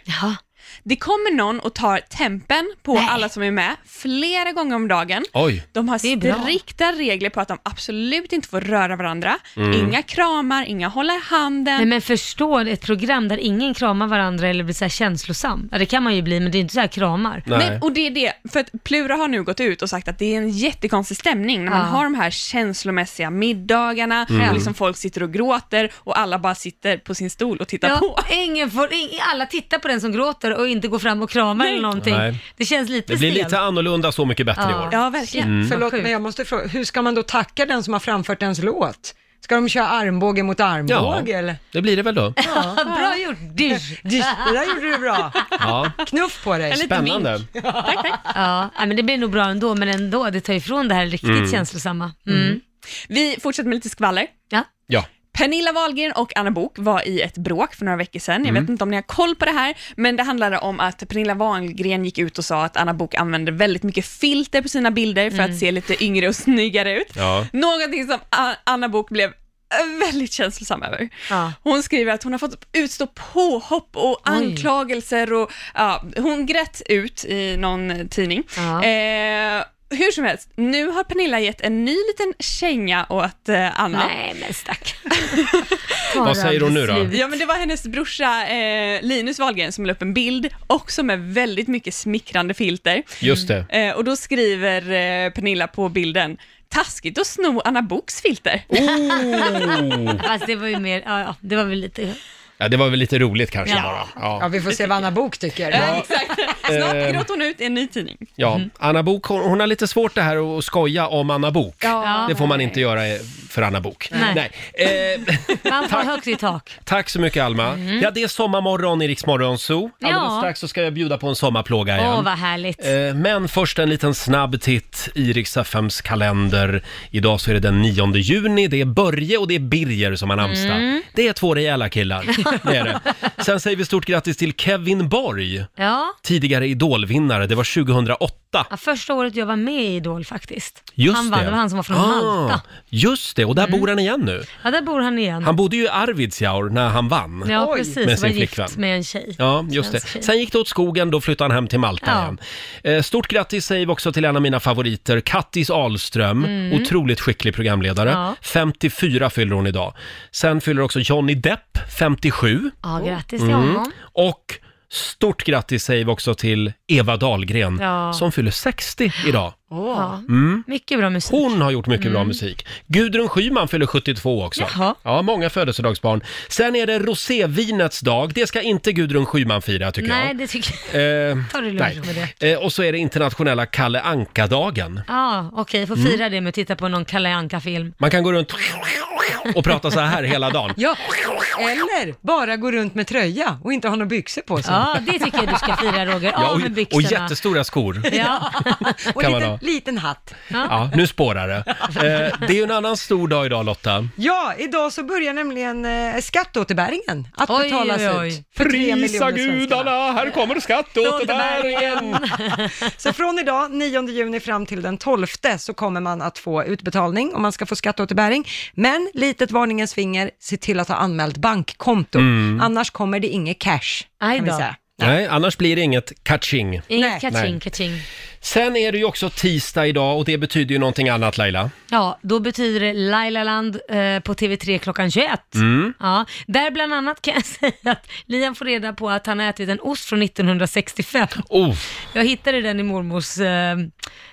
Speaker 8: Det kommer någon och tar tempen på alla som är med flera gånger om dagen.
Speaker 1: Oj.
Speaker 8: De har
Speaker 12: är bra.
Speaker 8: strikta regler på att de absolut inte får röra varandra.
Speaker 3: Mm.
Speaker 8: Inga kramar, inga hålla i handen.
Speaker 3: Nej men förstå ett program där ingen kramar varandra eller blir så här känslosam. Ja, det kan man ju bli men det är inte så här kramar.
Speaker 8: Nej. och det är det, för att Plura har nu gått ut och sagt att det är en jättekonstig stämning när man
Speaker 3: Ja.
Speaker 8: har de här känslomässiga middagarna,
Speaker 3: Mm.
Speaker 8: och liksom folk sitter och gråter och alla bara sitter på sin stol och tittar
Speaker 3: Ja,
Speaker 8: på.
Speaker 3: Ingen får, ing, alla tittar på den som gråter och inte går fram och kramar eller någonting.
Speaker 1: Nej.
Speaker 3: Det känns lite
Speaker 1: Det blir
Speaker 3: stelt.
Speaker 1: lite annorlunda Så mycket bättre
Speaker 3: Ah.
Speaker 1: i år. Mm.
Speaker 2: Förlåt, men jag måste fråga, hur ska man då tacka den som har framfört ens låt? Ska de köra armbåge mot armbåge
Speaker 1: Ja,
Speaker 2: eller?
Speaker 1: det blir det väl då.
Speaker 2: Ja.
Speaker 3: Bra gjort, dysch.
Speaker 2: Det där gjorde du bra.
Speaker 1: Ja.
Speaker 2: Knuff på dig.
Speaker 1: Spännande.
Speaker 3: Ja, nej, men det blir nog bra ändå, men ändå, det tar ifrån det här riktigt
Speaker 1: Mm.
Speaker 3: känslosamma. Mm.
Speaker 8: Vi fortsätter med lite skvaller.
Speaker 3: Ja.
Speaker 1: Ja.
Speaker 8: Pernilla Wahlgren och Anna Bok var i ett bråk för några veckor sedan. Jag
Speaker 3: Mm.
Speaker 8: vet inte om ni har koll på det här, men det handlade om att Pernilla Wahlgren gick ut och sa att Anna Bok använder väldigt mycket filter på sina bilder för
Speaker 3: Mm.
Speaker 8: att se lite yngre och snyggare ut.
Speaker 12: Ja.
Speaker 8: Någonting som A- Anna Bok blev eh, väldigt känslosam över. Hon skriver att hon har fått utstå påhopp och anklagelser och ja, hon grät ut i någon tidning. Eh, hur som helst, nu har Pernilla gett en ny liten känga åt eh, Anna.
Speaker 3: Nej men stack.
Speaker 1: Vad säger hon nu då? beslut.
Speaker 8: Ja men det var hennes brorsa eh, Linus Wahlgren som la upp en bild, också med väldigt mycket smickrande filter.
Speaker 1: Just det.
Speaker 8: Eh, och då skriver eh, Pernilla på bilden, taskigt att sno Anna Boks filter.
Speaker 1: Oh.
Speaker 3: Fast det var ju mer, ja, ja det var väl lite...
Speaker 1: Ja, det var väl lite roligt kanske
Speaker 3: Ja.
Speaker 1: bara. Ja.
Speaker 2: Ja, vi får se vad Anna Bok tycker.
Speaker 8: Ja, exakt. Snart
Speaker 1: Eh.
Speaker 8: gråter hon ut i en ny tidning.
Speaker 1: Ja,
Speaker 3: Mm.
Speaker 1: Anna Bok, hon, hon har lite svårt det här att skoja om Anna Bok.
Speaker 8: Ja.
Speaker 1: Det får man inte göra eh, för Anna Bok.
Speaker 3: Nej.
Speaker 1: Eh,
Speaker 3: Man får högt i tak.
Speaker 1: tack så mycket Alma. Ja, det är sommarmorgon i Rix Morgon Zoo. Alldeles
Speaker 3: Mm. Ja.
Speaker 1: strax så ska jag bjuda på en sommarplåga igen.
Speaker 3: Åh vad härligt.
Speaker 1: Eh, Men först en liten snabb titt i Rix FMs kalender. Idag så är det den 9 juni, det är Börje och det är Birger som har namnsdag.
Speaker 3: Mm.
Speaker 1: Det är två rejäla killar, det är det. Sen säger vi stort grattis till Kevin Borg,
Speaker 3: Ja.
Speaker 1: tidigare Idolvinnare, det var 2008.
Speaker 3: ja, första året jag var med i Idol faktiskt.
Speaker 1: Just
Speaker 3: han vann,
Speaker 1: det.
Speaker 3: det var han som var från
Speaker 1: Ah,
Speaker 3: Malta. Mm.
Speaker 1: Just det, och där bor han igen nu.
Speaker 3: Ja, där bor han igen.
Speaker 1: Han bodde ju i Arvidsjaur när han vann.
Speaker 3: ja, precis.
Speaker 1: Med
Speaker 3: var
Speaker 1: sin
Speaker 3: gift
Speaker 1: flickvän.
Speaker 3: med en tjej.
Speaker 1: Ja, just det.
Speaker 3: Svensk tjej.
Speaker 1: Sen gick det åt skogen, då flyttade han hem till Malta
Speaker 3: Ja.
Speaker 1: igen. Eh, Stort grattis säger vi också till en av mina favoriter, Kattis Ahlström.
Speaker 3: Mm.
Speaker 1: Otroligt skicklig programledare.
Speaker 3: Ja.
Speaker 1: 54 fyller hon idag. Sen fyller också Johnny Depp, 57.
Speaker 3: Ja, grattis till
Speaker 1: Mm.
Speaker 3: honom.
Speaker 1: Och stort grattis säger vi också till Eva Dahlgren,
Speaker 3: Ja.
Speaker 1: som fyller 60 idag.
Speaker 3: Ja.
Speaker 1: Mm.
Speaker 3: Mycket bra musik.
Speaker 1: Hon har gjort mycket bra
Speaker 3: Mm.
Speaker 1: musik. Gudrun Schyman fyller 72 också.
Speaker 3: Jaha.
Speaker 1: Ja, många födelsedagsbarn. Sen är det rosévinets dag. Det ska inte Gudrun Schyman fira tycker
Speaker 3: Nej,
Speaker 1: jag.
Speaker 3: det tycker jag.
Speaker 1: Eh,
Speaker 3: Ta det lugnt
Speaker 1: nej.
Speaker 3: med det.
Speaker 1: Eh, och så är det internationella Kalle Anka-dagen.
Speaker 3: Ja, okej, får
Speaker 1: Mm.
Speaker 3: fira det med att titta på någon Kalle Anka-film.
Speaker 1: Man kan gå runt och prata så här hela dagen.
Speaker 2: Ja, eller bara gå runt med tröja och inte ha några byxor på sig.
Speaker 3: Ja, det tycker jag du ska fira Roger. Av med
Speaker 1: och, och
Speaker 3: byxorna.
Speaker 1: jättestora skor.
Speaker 3: Ja.
Speaker 2: och
Speaker 1: Kan man
Speaker 2: liten,
Speaker 1: ha.
Speaker 2: liten hatt.
Speaker 1: Ja, nu spårar det. Eh, det är ju en annan stor dag idag Lotta.
Speaker 2: Ja, idag så börjar nämligen eh, skatteåterbäringen att
Speaker 3: Oj,
Speaker 2: betalas
Speaker 3: oj, oj.
Speaker 2: ut. För tre
Speaker 3: Prisa
Speaker 2: miljoner
Speaker 1: gudarna, här kommer skatteåterbäringen.
Speaker 2: så från idag, 9 juni fram till den 12 så kommer man att få utbetalning om man ska få skatteåterbäring. Men litet varningens finger, se till att ha anmält bankkonto.
Speaker 1: Mm.
Speaker 2: Annars kommer det inget cash,
Speaker 3: Aj
Speaker 2: kan vi
Speaker 3: då.
Speaker 2: säga.
Speaker 1: Nej, annars blir det inget catching.
Speaker 3: Inget Kaching,
Speaker 1: Nej.
Speaker 3: kaching.
Speaker 1: Sen är det ju också tisdag idag och det betyder ju någonting annat Laila.
Speaker 3: Ja, då betyder det Lailaland eh, på TV3 klockan 21.
Speaker 1: Mm.
Speaker 3: Ja, där bland annat kan jag säga att Liam får reda på att han har ätit en ost från 1965.
Speaker 1: Oh.
Speaker 3: Jag hittade den i mormors eh,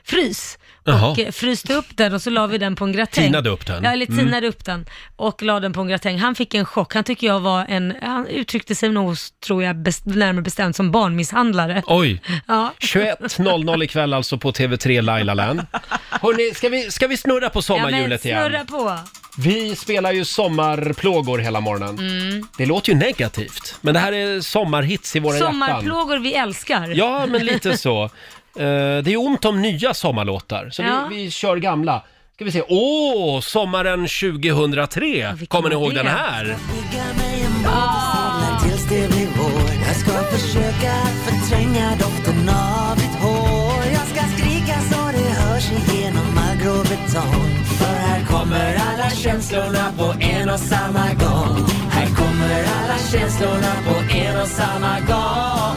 Speaker 3: frys
Speaker 1: Jaha.
Speaker 3: och eh, fryste upp den och så la vi den på en gratäng.
Speaker 1: Tinade upp den.
Speaker 3: Ja, eller
Speaker 1: Mm.
Speaker 3: tinade upp den och la den på en gratäng. Han fick en chock. Han tycker jag var en, han uttryckte sig nog, tror jag, best, närmare bestämt som barnmisshandlare.
Speaker 1: Oj!
Speaker 3: Ja.
Speaker 1: 21.00 ikväll alltså på TV3 Lailaland. Hörrni, ska vi, ska vi snurra på sommarhjulet
Speaker 3: ja, men,
Speaker 1: igen?
Speaker 3: snurra på.
Speaker 1: Vi spelar ju sommarplågor hela morgonen.
Speaker 3: Mm.
Speaker 1: Det låter ju negativt, men det här är sommarhits i våra hjärtan.
Speaker 3: Sommarplågor vi älskar.
Speaker 1: Ja, men lite så. Eh, det är ont om nya sommarlåtar, så
Speaker 3: Ja.
Speaker 1: vi, vi kör gamla. Ska vi se. Åh, sommaren 2003! Kommer ni ihåg den här?
Speaker 12: Tills det blir vår Jag ska försöka förtränga doften av ditt hår Jag ska skrika så det hörs igenom all grå betong För här kommer alla känslorna på en och samma gång Här kommer alla känslorna på en och samma gång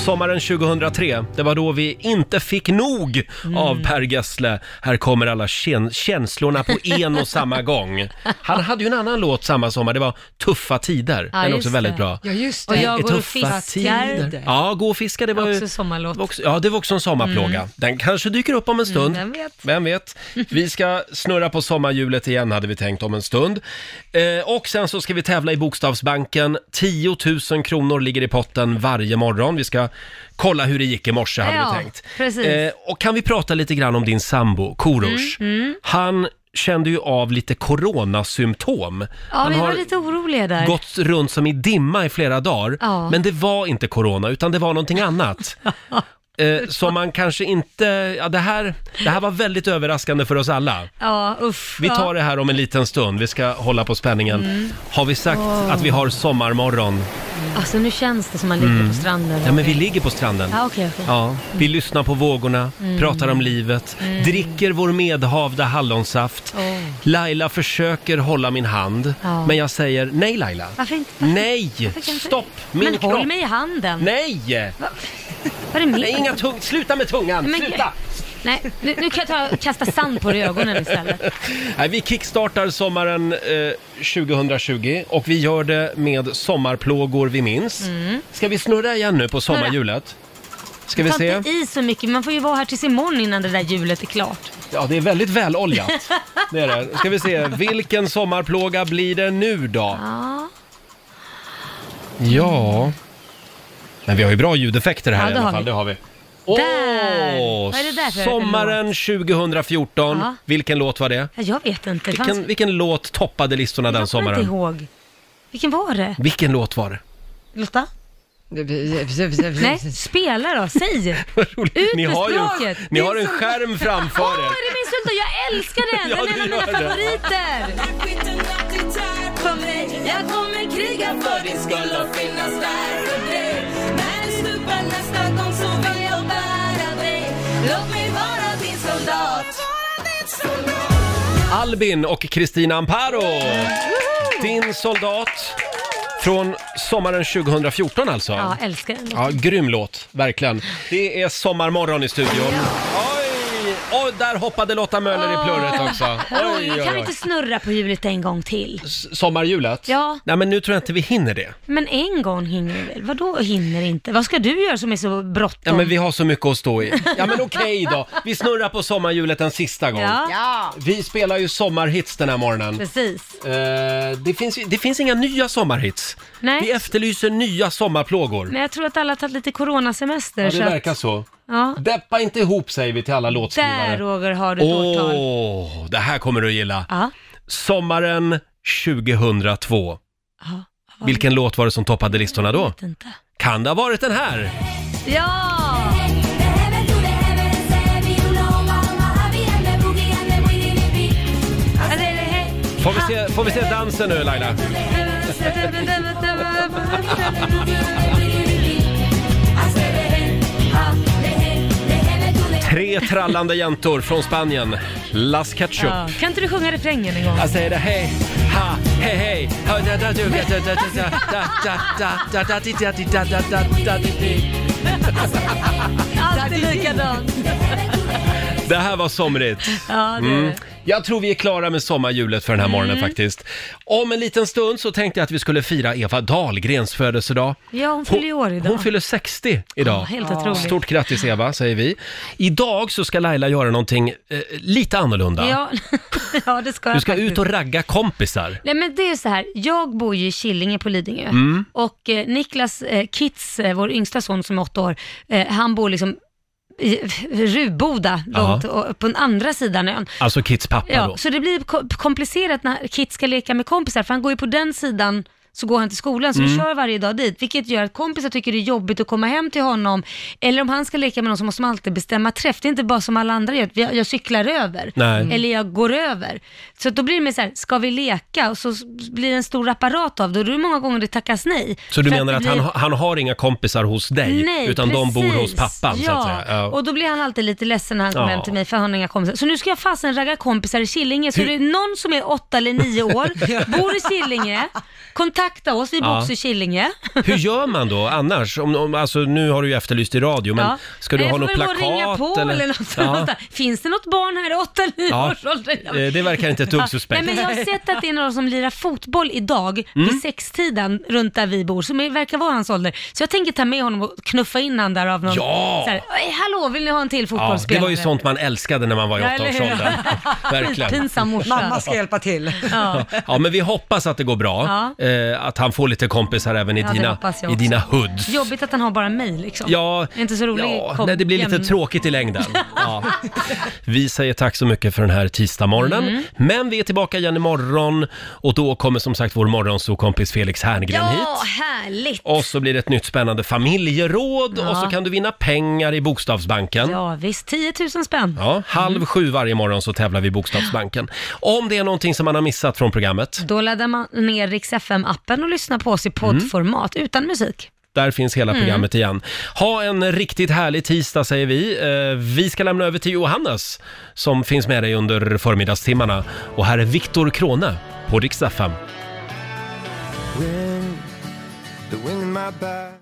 Speaker 1: Sommaren 2003, det var då vi inte fick nog
Speaker 2: Mm.
Speaker 1: av Per Gessle. Här kommer alla ken- känslorna på en och samma gång. Han hade ju en annan låt samma sommar, det var Tuffa tider. Den är också väldigt bra.
Speaker 2: Ja, just det.
Speaker 3: Och jag
Speaker 1: Det är
Speaker 3: går och
Speaker 1: tuffa
Speaker 3: fiskar.
Speaker 1: tider. Ja, gå och fiska, det var ju...
Speaker 3: Också sommarlåt.
Speaker 1: Också, ja, det var också en sommarplåga.
Speaker 3: Mm.
Speaker 1: Den kanske dyker upp om en stund.
Speaker 3: Mm, vem vet?
Speaker 1: Vem vet? Vi ska snurra på sommarhjulet igen, hade vi tänkt om en stund. Eh, och sen så ska vi tävla i Bokstavsbanken. 10 000 kronor ligger i potten varje morgon. Vi ska kolla hur det gick i morse, hade
Speaker 3: Ja,
Speaker 1: vi tänkt. Eh,
Speaker 3: precis.
Speaker 1: och kan vi prata lite grann om din sambo, Korosh?
Speaker 3: Mm, mm.
Speaker 1: Han kände ju av lite coronasymptom.
Speaker 3: Ja,
Speaker 1: Han
Speaker 3: vi var
Speaker 1: har-
Speaker 3: lite oroliga där.
Speaker 1: gått runt som i dimma i flera dagar.
Speaker 3: Ja.
Speaker 1: Men det var inte corona, utan det var någonting annat. eh, som man kanske inte... Ja, det, här, det här var väldigt överraskande för oss alla.
Speaker 3: Ja, uff.
Speaker 1: Vi
Speaker 3: ja.
Speaker 1: tar det här om en liten stund. Vi ska hålla på spänningen.
Speaker 3: Mm.
Speaker 1: Har vi sagt
Speaker 3: Åh.
Speaker 1: att vi har sommarmorgon?
Speaker 3: Alltså nu känns det som man ligger
Speaker 1: Mm.
Speaker 3: på stranden.
Speaker 1: Ja, men vi ligger på stranden.
Speaker 3: Ja, Ah, okej, okej.
Speaker 1: Ja, vi lyssnar på vågorna,
Speaker 3: Mm.
Speaker 1: pratar om livet,
Speaker 3: Mm.
Speaker 1: dricker vår medhavda hallonsaft.
Speaker 3: Åh.
Speaker 1: Laila försöker hålla min hand,
Speaker 3: Ja.
Speaker 1: men jag säger nej Laila.
Speaker 3: Varför inte? Varför?
Speaker 1: Nej!
Speaker 3: varför kan jag inte-
Speaker 1: Stopp! Min
Speaker 3: Men
Speaker 1: kropp!
Speaker 3: håll mig i handen.
Speaker 1: Nej!
Speaker 3: Vad är det med?
Speaker 1: Nej, inga tung... Sluta med tungan!
Speaker 3: Men-
Speaker 1: Sluta!
Speaker 3: Nej, nu, nu kan jag ta, kasta sand på dig i ögonen istället.
Speaker 1: Nej, vi kickstartar sommaren eh, 2020 och vi gör det med sommarplågor vi minns.
Speaker 3: Mm.
Speaker 1: Ska vi snurra igen nu på sommarhjulet? Ska vi
Speaker 3: Ta
Speaker 1: se?
Speaker 3: inte i så mycket, man får ju vara här tills imorgon innan det där hjulet är klart.
Speaker 1: Ja, det är väldigt väloljat. Det är det. Ska vi se, vilken sommarplåga blir det nu då?
Speaker 3: Ja,
Speaker 1: Ja... Men vi har ju bra ljudeffekter här
Speaker 3: Ja,
Speaker 1: i
Speaker 3: det
Speaker 1: alla
Speaker 3: har
Speaker 1: fall,
Speaker 3: vi.
Speaker 1: det har vi.
Speaker 3: Där!
Speaker 1: Åh,
Speaker 3: Vad är det där för
Speaker 1: sommaren 2014,
Speaker 3: Ja.
Speaker 1: vilken låt var det?
Speaker 3: Ja, jag vet inte. Det fanns-
Speaker 1: Vilken, vilken låt toppade listorna den
Speaker 3: Jag kommer inte
Speaker 1: sommaren?
Speaker 3: ihåg. Vilken var det?
Speaker 1: Vilken låt var det?
Speaker 3: Lotta? Nej, spela då, säg! Ut
Speaker 1: Ni
Speaker 3: med
Speaker 1: har, ju,
Speaker 3: språket!
Speaker 1: ni har en skärm framför
Speaker 3: Åh,
Speaker 1: er.
Speaker 3: är det min sultan? Jag älskar den!
Speaker 1: Ja,
Speaker 3: Den
Speaker 1: du
Speaker 3: är en
Speaker 1: gör
Speaker 3: av
Speaker 1: det.
Speaker 3: mina favoriter! Jag kommer kriga för din skull och finnas där för dig När du stupar nästa gång så vill jag bära dig Låt mig vara din soldat
Speaker 1: Albin och Kristina Amparo! Din soldat från sommaren 2014 alltså.
Speaker 3: Ja, älskar den.
Speaker 1: Ja, grym låt, verkligen. Det är sommarmorgon i studion. Oj! Och där hoppade Lotta Möller i plurret också. Oj,
Speaker 3: Roger, Ah. kan vi
Speaker 1: oj,
Speaker 3: inte
Speaker 1: oj.
Speaker 3: snurra på hjulet en gång till?
Speaker 1: Sommarhjulet?
Speaker 3: Ja.
Speaker 1: Nej, men nu tror jag inte vi hinner det.
Speaker 3: Men en gång hinner vi väl? Vadå hinner inte? Vad ska du göra som är så
Speaker 1: Ja,
Speaker 3: bråttom?
Speaker 1: men vi har så mycket att stå i. Ja, men okej då. Vi snurrar på sommarhjulet en sista gång.
Speaker 3: Ja.
Speaker 1: Vi spelar ju sommarhits den här morgonen.
Speaker 3: Precis.
Speaker 1: Eh, det, finns, det finns inga nya sommarhits.
Speaker 3: Nej.
Speaker 1: Vi efterlyser nya sommarplågor.
Speaker 3: Men jag tror att alla har tagit lite coronasemester.
Speaker 1: ja,
Speaker 3: så
Speaker 1: det
Speaker 3: att-
Speaker 1: verkar så.
Speaker 3: Ja.
Speaker 1: Deppa inte ihop säger vi till alla
Speaker 3: Där
Speaker 1: låtskrivare.
Speaker 3: Roger har du ett
Speaker 1: Åh,
Speaker 3: årtal.
Speaker 1: det här kommer du att gilla.
Speaker 3: Ja.
Speaker 1: Sommaren 2002.
Speaker 3: Ja.
Speaker 1: Vilken låt var det som toppade listorna då?
Speaker 3: inte.
Speaker 1: Kan det ha varit den här?
Speaker 3: Ja!
Speaker 1: Får vi se, får vi se dansen nu Laila? Tre trallande jäntor från Spanien. Las Ketchup.
Speaker 3: Ja. Kan inte du sjunga refrängen en gång?
Speaker 1: Jag säger det hej, ha, hej, hej. Ha, da, da, du, da, da, da, da, da, da, da, da, da, di, da, di, da, da, da, da, di, di.
Speaker 3: Alltid likadant.
Speaker 1: Det här var somrigt.
Speaker 3: Ja, det är
Speaker 1: Mm.
Speaker 3: det.
Speaker 1: Jag tror vi är klara med sommarhjulet för den här morgonen faktiskt. Om en liten stund så tänkte jag att vi skulle fira Eva Dahlgrens födelsedag.
Speaker 3: Ja, hon fyller ju år idag.
Speaker 1: Hon fyller 60 idag.
Speaker 3: Ja, helt otroligt.
Speaker 1: Stort grattis Eva, säger vi. Idag så ska Laila göra någonting eh, lite annorlunda.
Speaker 3: Ja, ja, det ska jag
Speaker 1: Du ska
Speaker 3: faktiskt.
Speaker 1: ut och ragga kompisar.
Speaker 3: Nej men det är så här, jag bor ju i Killinge på Lidingö
Speaker 1: Mm.
Speaker 3: och eh, Niklas eh, Kitz, eh, vår yngsta son som är åtta år, eh, han bor liksom i Ruboda, långt
Speaker 1: Jaha.
Speaker 3: och, på den andra sidan ön.
Speaker 1: Alltså Kits pappa
Speaker 3: Ja,
Speaker 1: då.
Speaker 3: så det blir ko- komplicerat när Kit ska leka med kompisar, för han går ju på den sidan så går han till skolan, så vi
Speaker 1: Mm.
Speaker 3: kör varje dag dit, vilket gör att kompisar tycker det är jobbigt att komma hem till honom, eller om han ska leka med någon så måste man alltid bestämma träff. Det är inte bara som alla andra gör, att jag, jag cyklar över,
Speaker 1: Nej.
Speaker 3: eller jag går över. Så att då blir det mer så här, ska vi leka? Och så s- blir det en stor apparat av det, och då är det många gånger det tackas nej.
Speaker 1: Så du
Speaker 3: För
Speaker 1: menar
Speaker 3: det
Speaker 1: att han,
Speaker 3: blir-
Speaker 1: ha- han har inga kompisar hos dig,
Speaker 3: Nej,
Speaker 1: utan de bor hos
Speaker 3: precis.
Speaker 1: pappan
Speaker 3: ja.
Speaker 1: så att säga? Ja.
Speaker 3: och då blir han alltid lite ledsen när han kommer
Speaker 1: Ja.
Speaker 3: hem till mig för han har inga kompisar. Så nu ska jag fasen ragga kompisar i Killinge. Så
Speaker 1: Hur-
Speaker 3: det är någon som är åtta eller nio år, bor i Killinge, kontakta oss, vi bor
Speaker 1: Ja.
Speaker 3: också i Killinge.
Speaker 1: Hur gör man då annars? Om, om, alltså, nu har du ju efterlyst i radio, men
Speaker 3: Ja.
Speaker 1: ska du
Speaker 3: Nej,
Speaker 1: ha
Speaker 3: jag
Speaker 1: något
Speaker 3: får väl gå och
Speaker 1: plakat?
Speaker 3: ringa på eller, något sånt där. Finns det något barn här i 8-9
Speaker 1: Ja.
Speaker 3: års ålder?
Speaker 1: Eh, det verkar inte ett dugg
Speaker 3: Ja.
Speaker 1: suspekt.
Speaker 3: Nej, men jag har sett att det är några som lirar fotboll idag
Speaker 1: Mm.
Speaker 3: vid sextiden runt där vi bor, som är- verkar vara hans ålder. Så jag tänker ta med honom och knuffa in han där av någon.
Speaker 1: Ja!
Speaker 3: Så här, "Oj, hallå, vill ni ha en till
Speaker 1: Ja,
Speaker 3: fotbollsspelare?
Speaker 1: det var ju sånt man älskade när man var i
Speaker 3: Ja, eller hur?
Speaker 1: åttaårsåldern. Verkligen.
Speaker 3: Pinsam morsa.
Speaker 2: Mamma ska hjälpa till.
Speaker 3: Ja.
Speaker 1: Ja, men vi hoppas att det går bra. Eh, att han får lite kompisar även i
Speaker 3: Ja, det
Speaker 1: dina,
Speaker 3: hoppas jag
Speaker 1: i
Speaker 3: också.
Speaker 1: dina hoods.
Speaker 3: Jobbigt att han har bara mig liksom.
Speaker 1: Ja,
Speaker 3: Det är inte så rolig
Speaker 1: ja
Speaker 3: kom-
Speaker 1: nej, det blir lite
Speaker 3: jämn-
Speaker 1: tråkigt i längden. Ja. Vi säger tack så mycket för den här tisdagsmorgonen.
Speaker 3: Mm.
Speaker 1: Men vi är tillbaka igen imorgon och då kommer som sagt vår morgonsokompis Felix Herngren hit.
Speaker 3: Ja, härligt!
Speaker 1: Och så blir det ett nytt spännande familjeråd
Speaker 3: Ja.
Speaker 1: och så kan du vinna pengar i Bokstavsbanken.
Speaker 3: Ja, Mm. visst, 10 000 spänn.
Speaker 1: Ja, halv sju varje morgon så tävlar vi i Bokstavsbanken. Om det är någonting som man har missat från programmet,
Speaker 3: Då laddar man ner Rix FM-appen och lyssnar på oss i poddformat utan musik.
Speaker 1: där finns hela
Speaker 3: Mm.
Speaker 1: programmet igen. Ha en riktigt härlig tisdag säger vi. Eh, Vi ska lämna över till Johannes som finns med dig under förmiddagstimmarna. Och här är Viktor Krone på Rix FM.
Speaker 13: Wind, the wind in my back.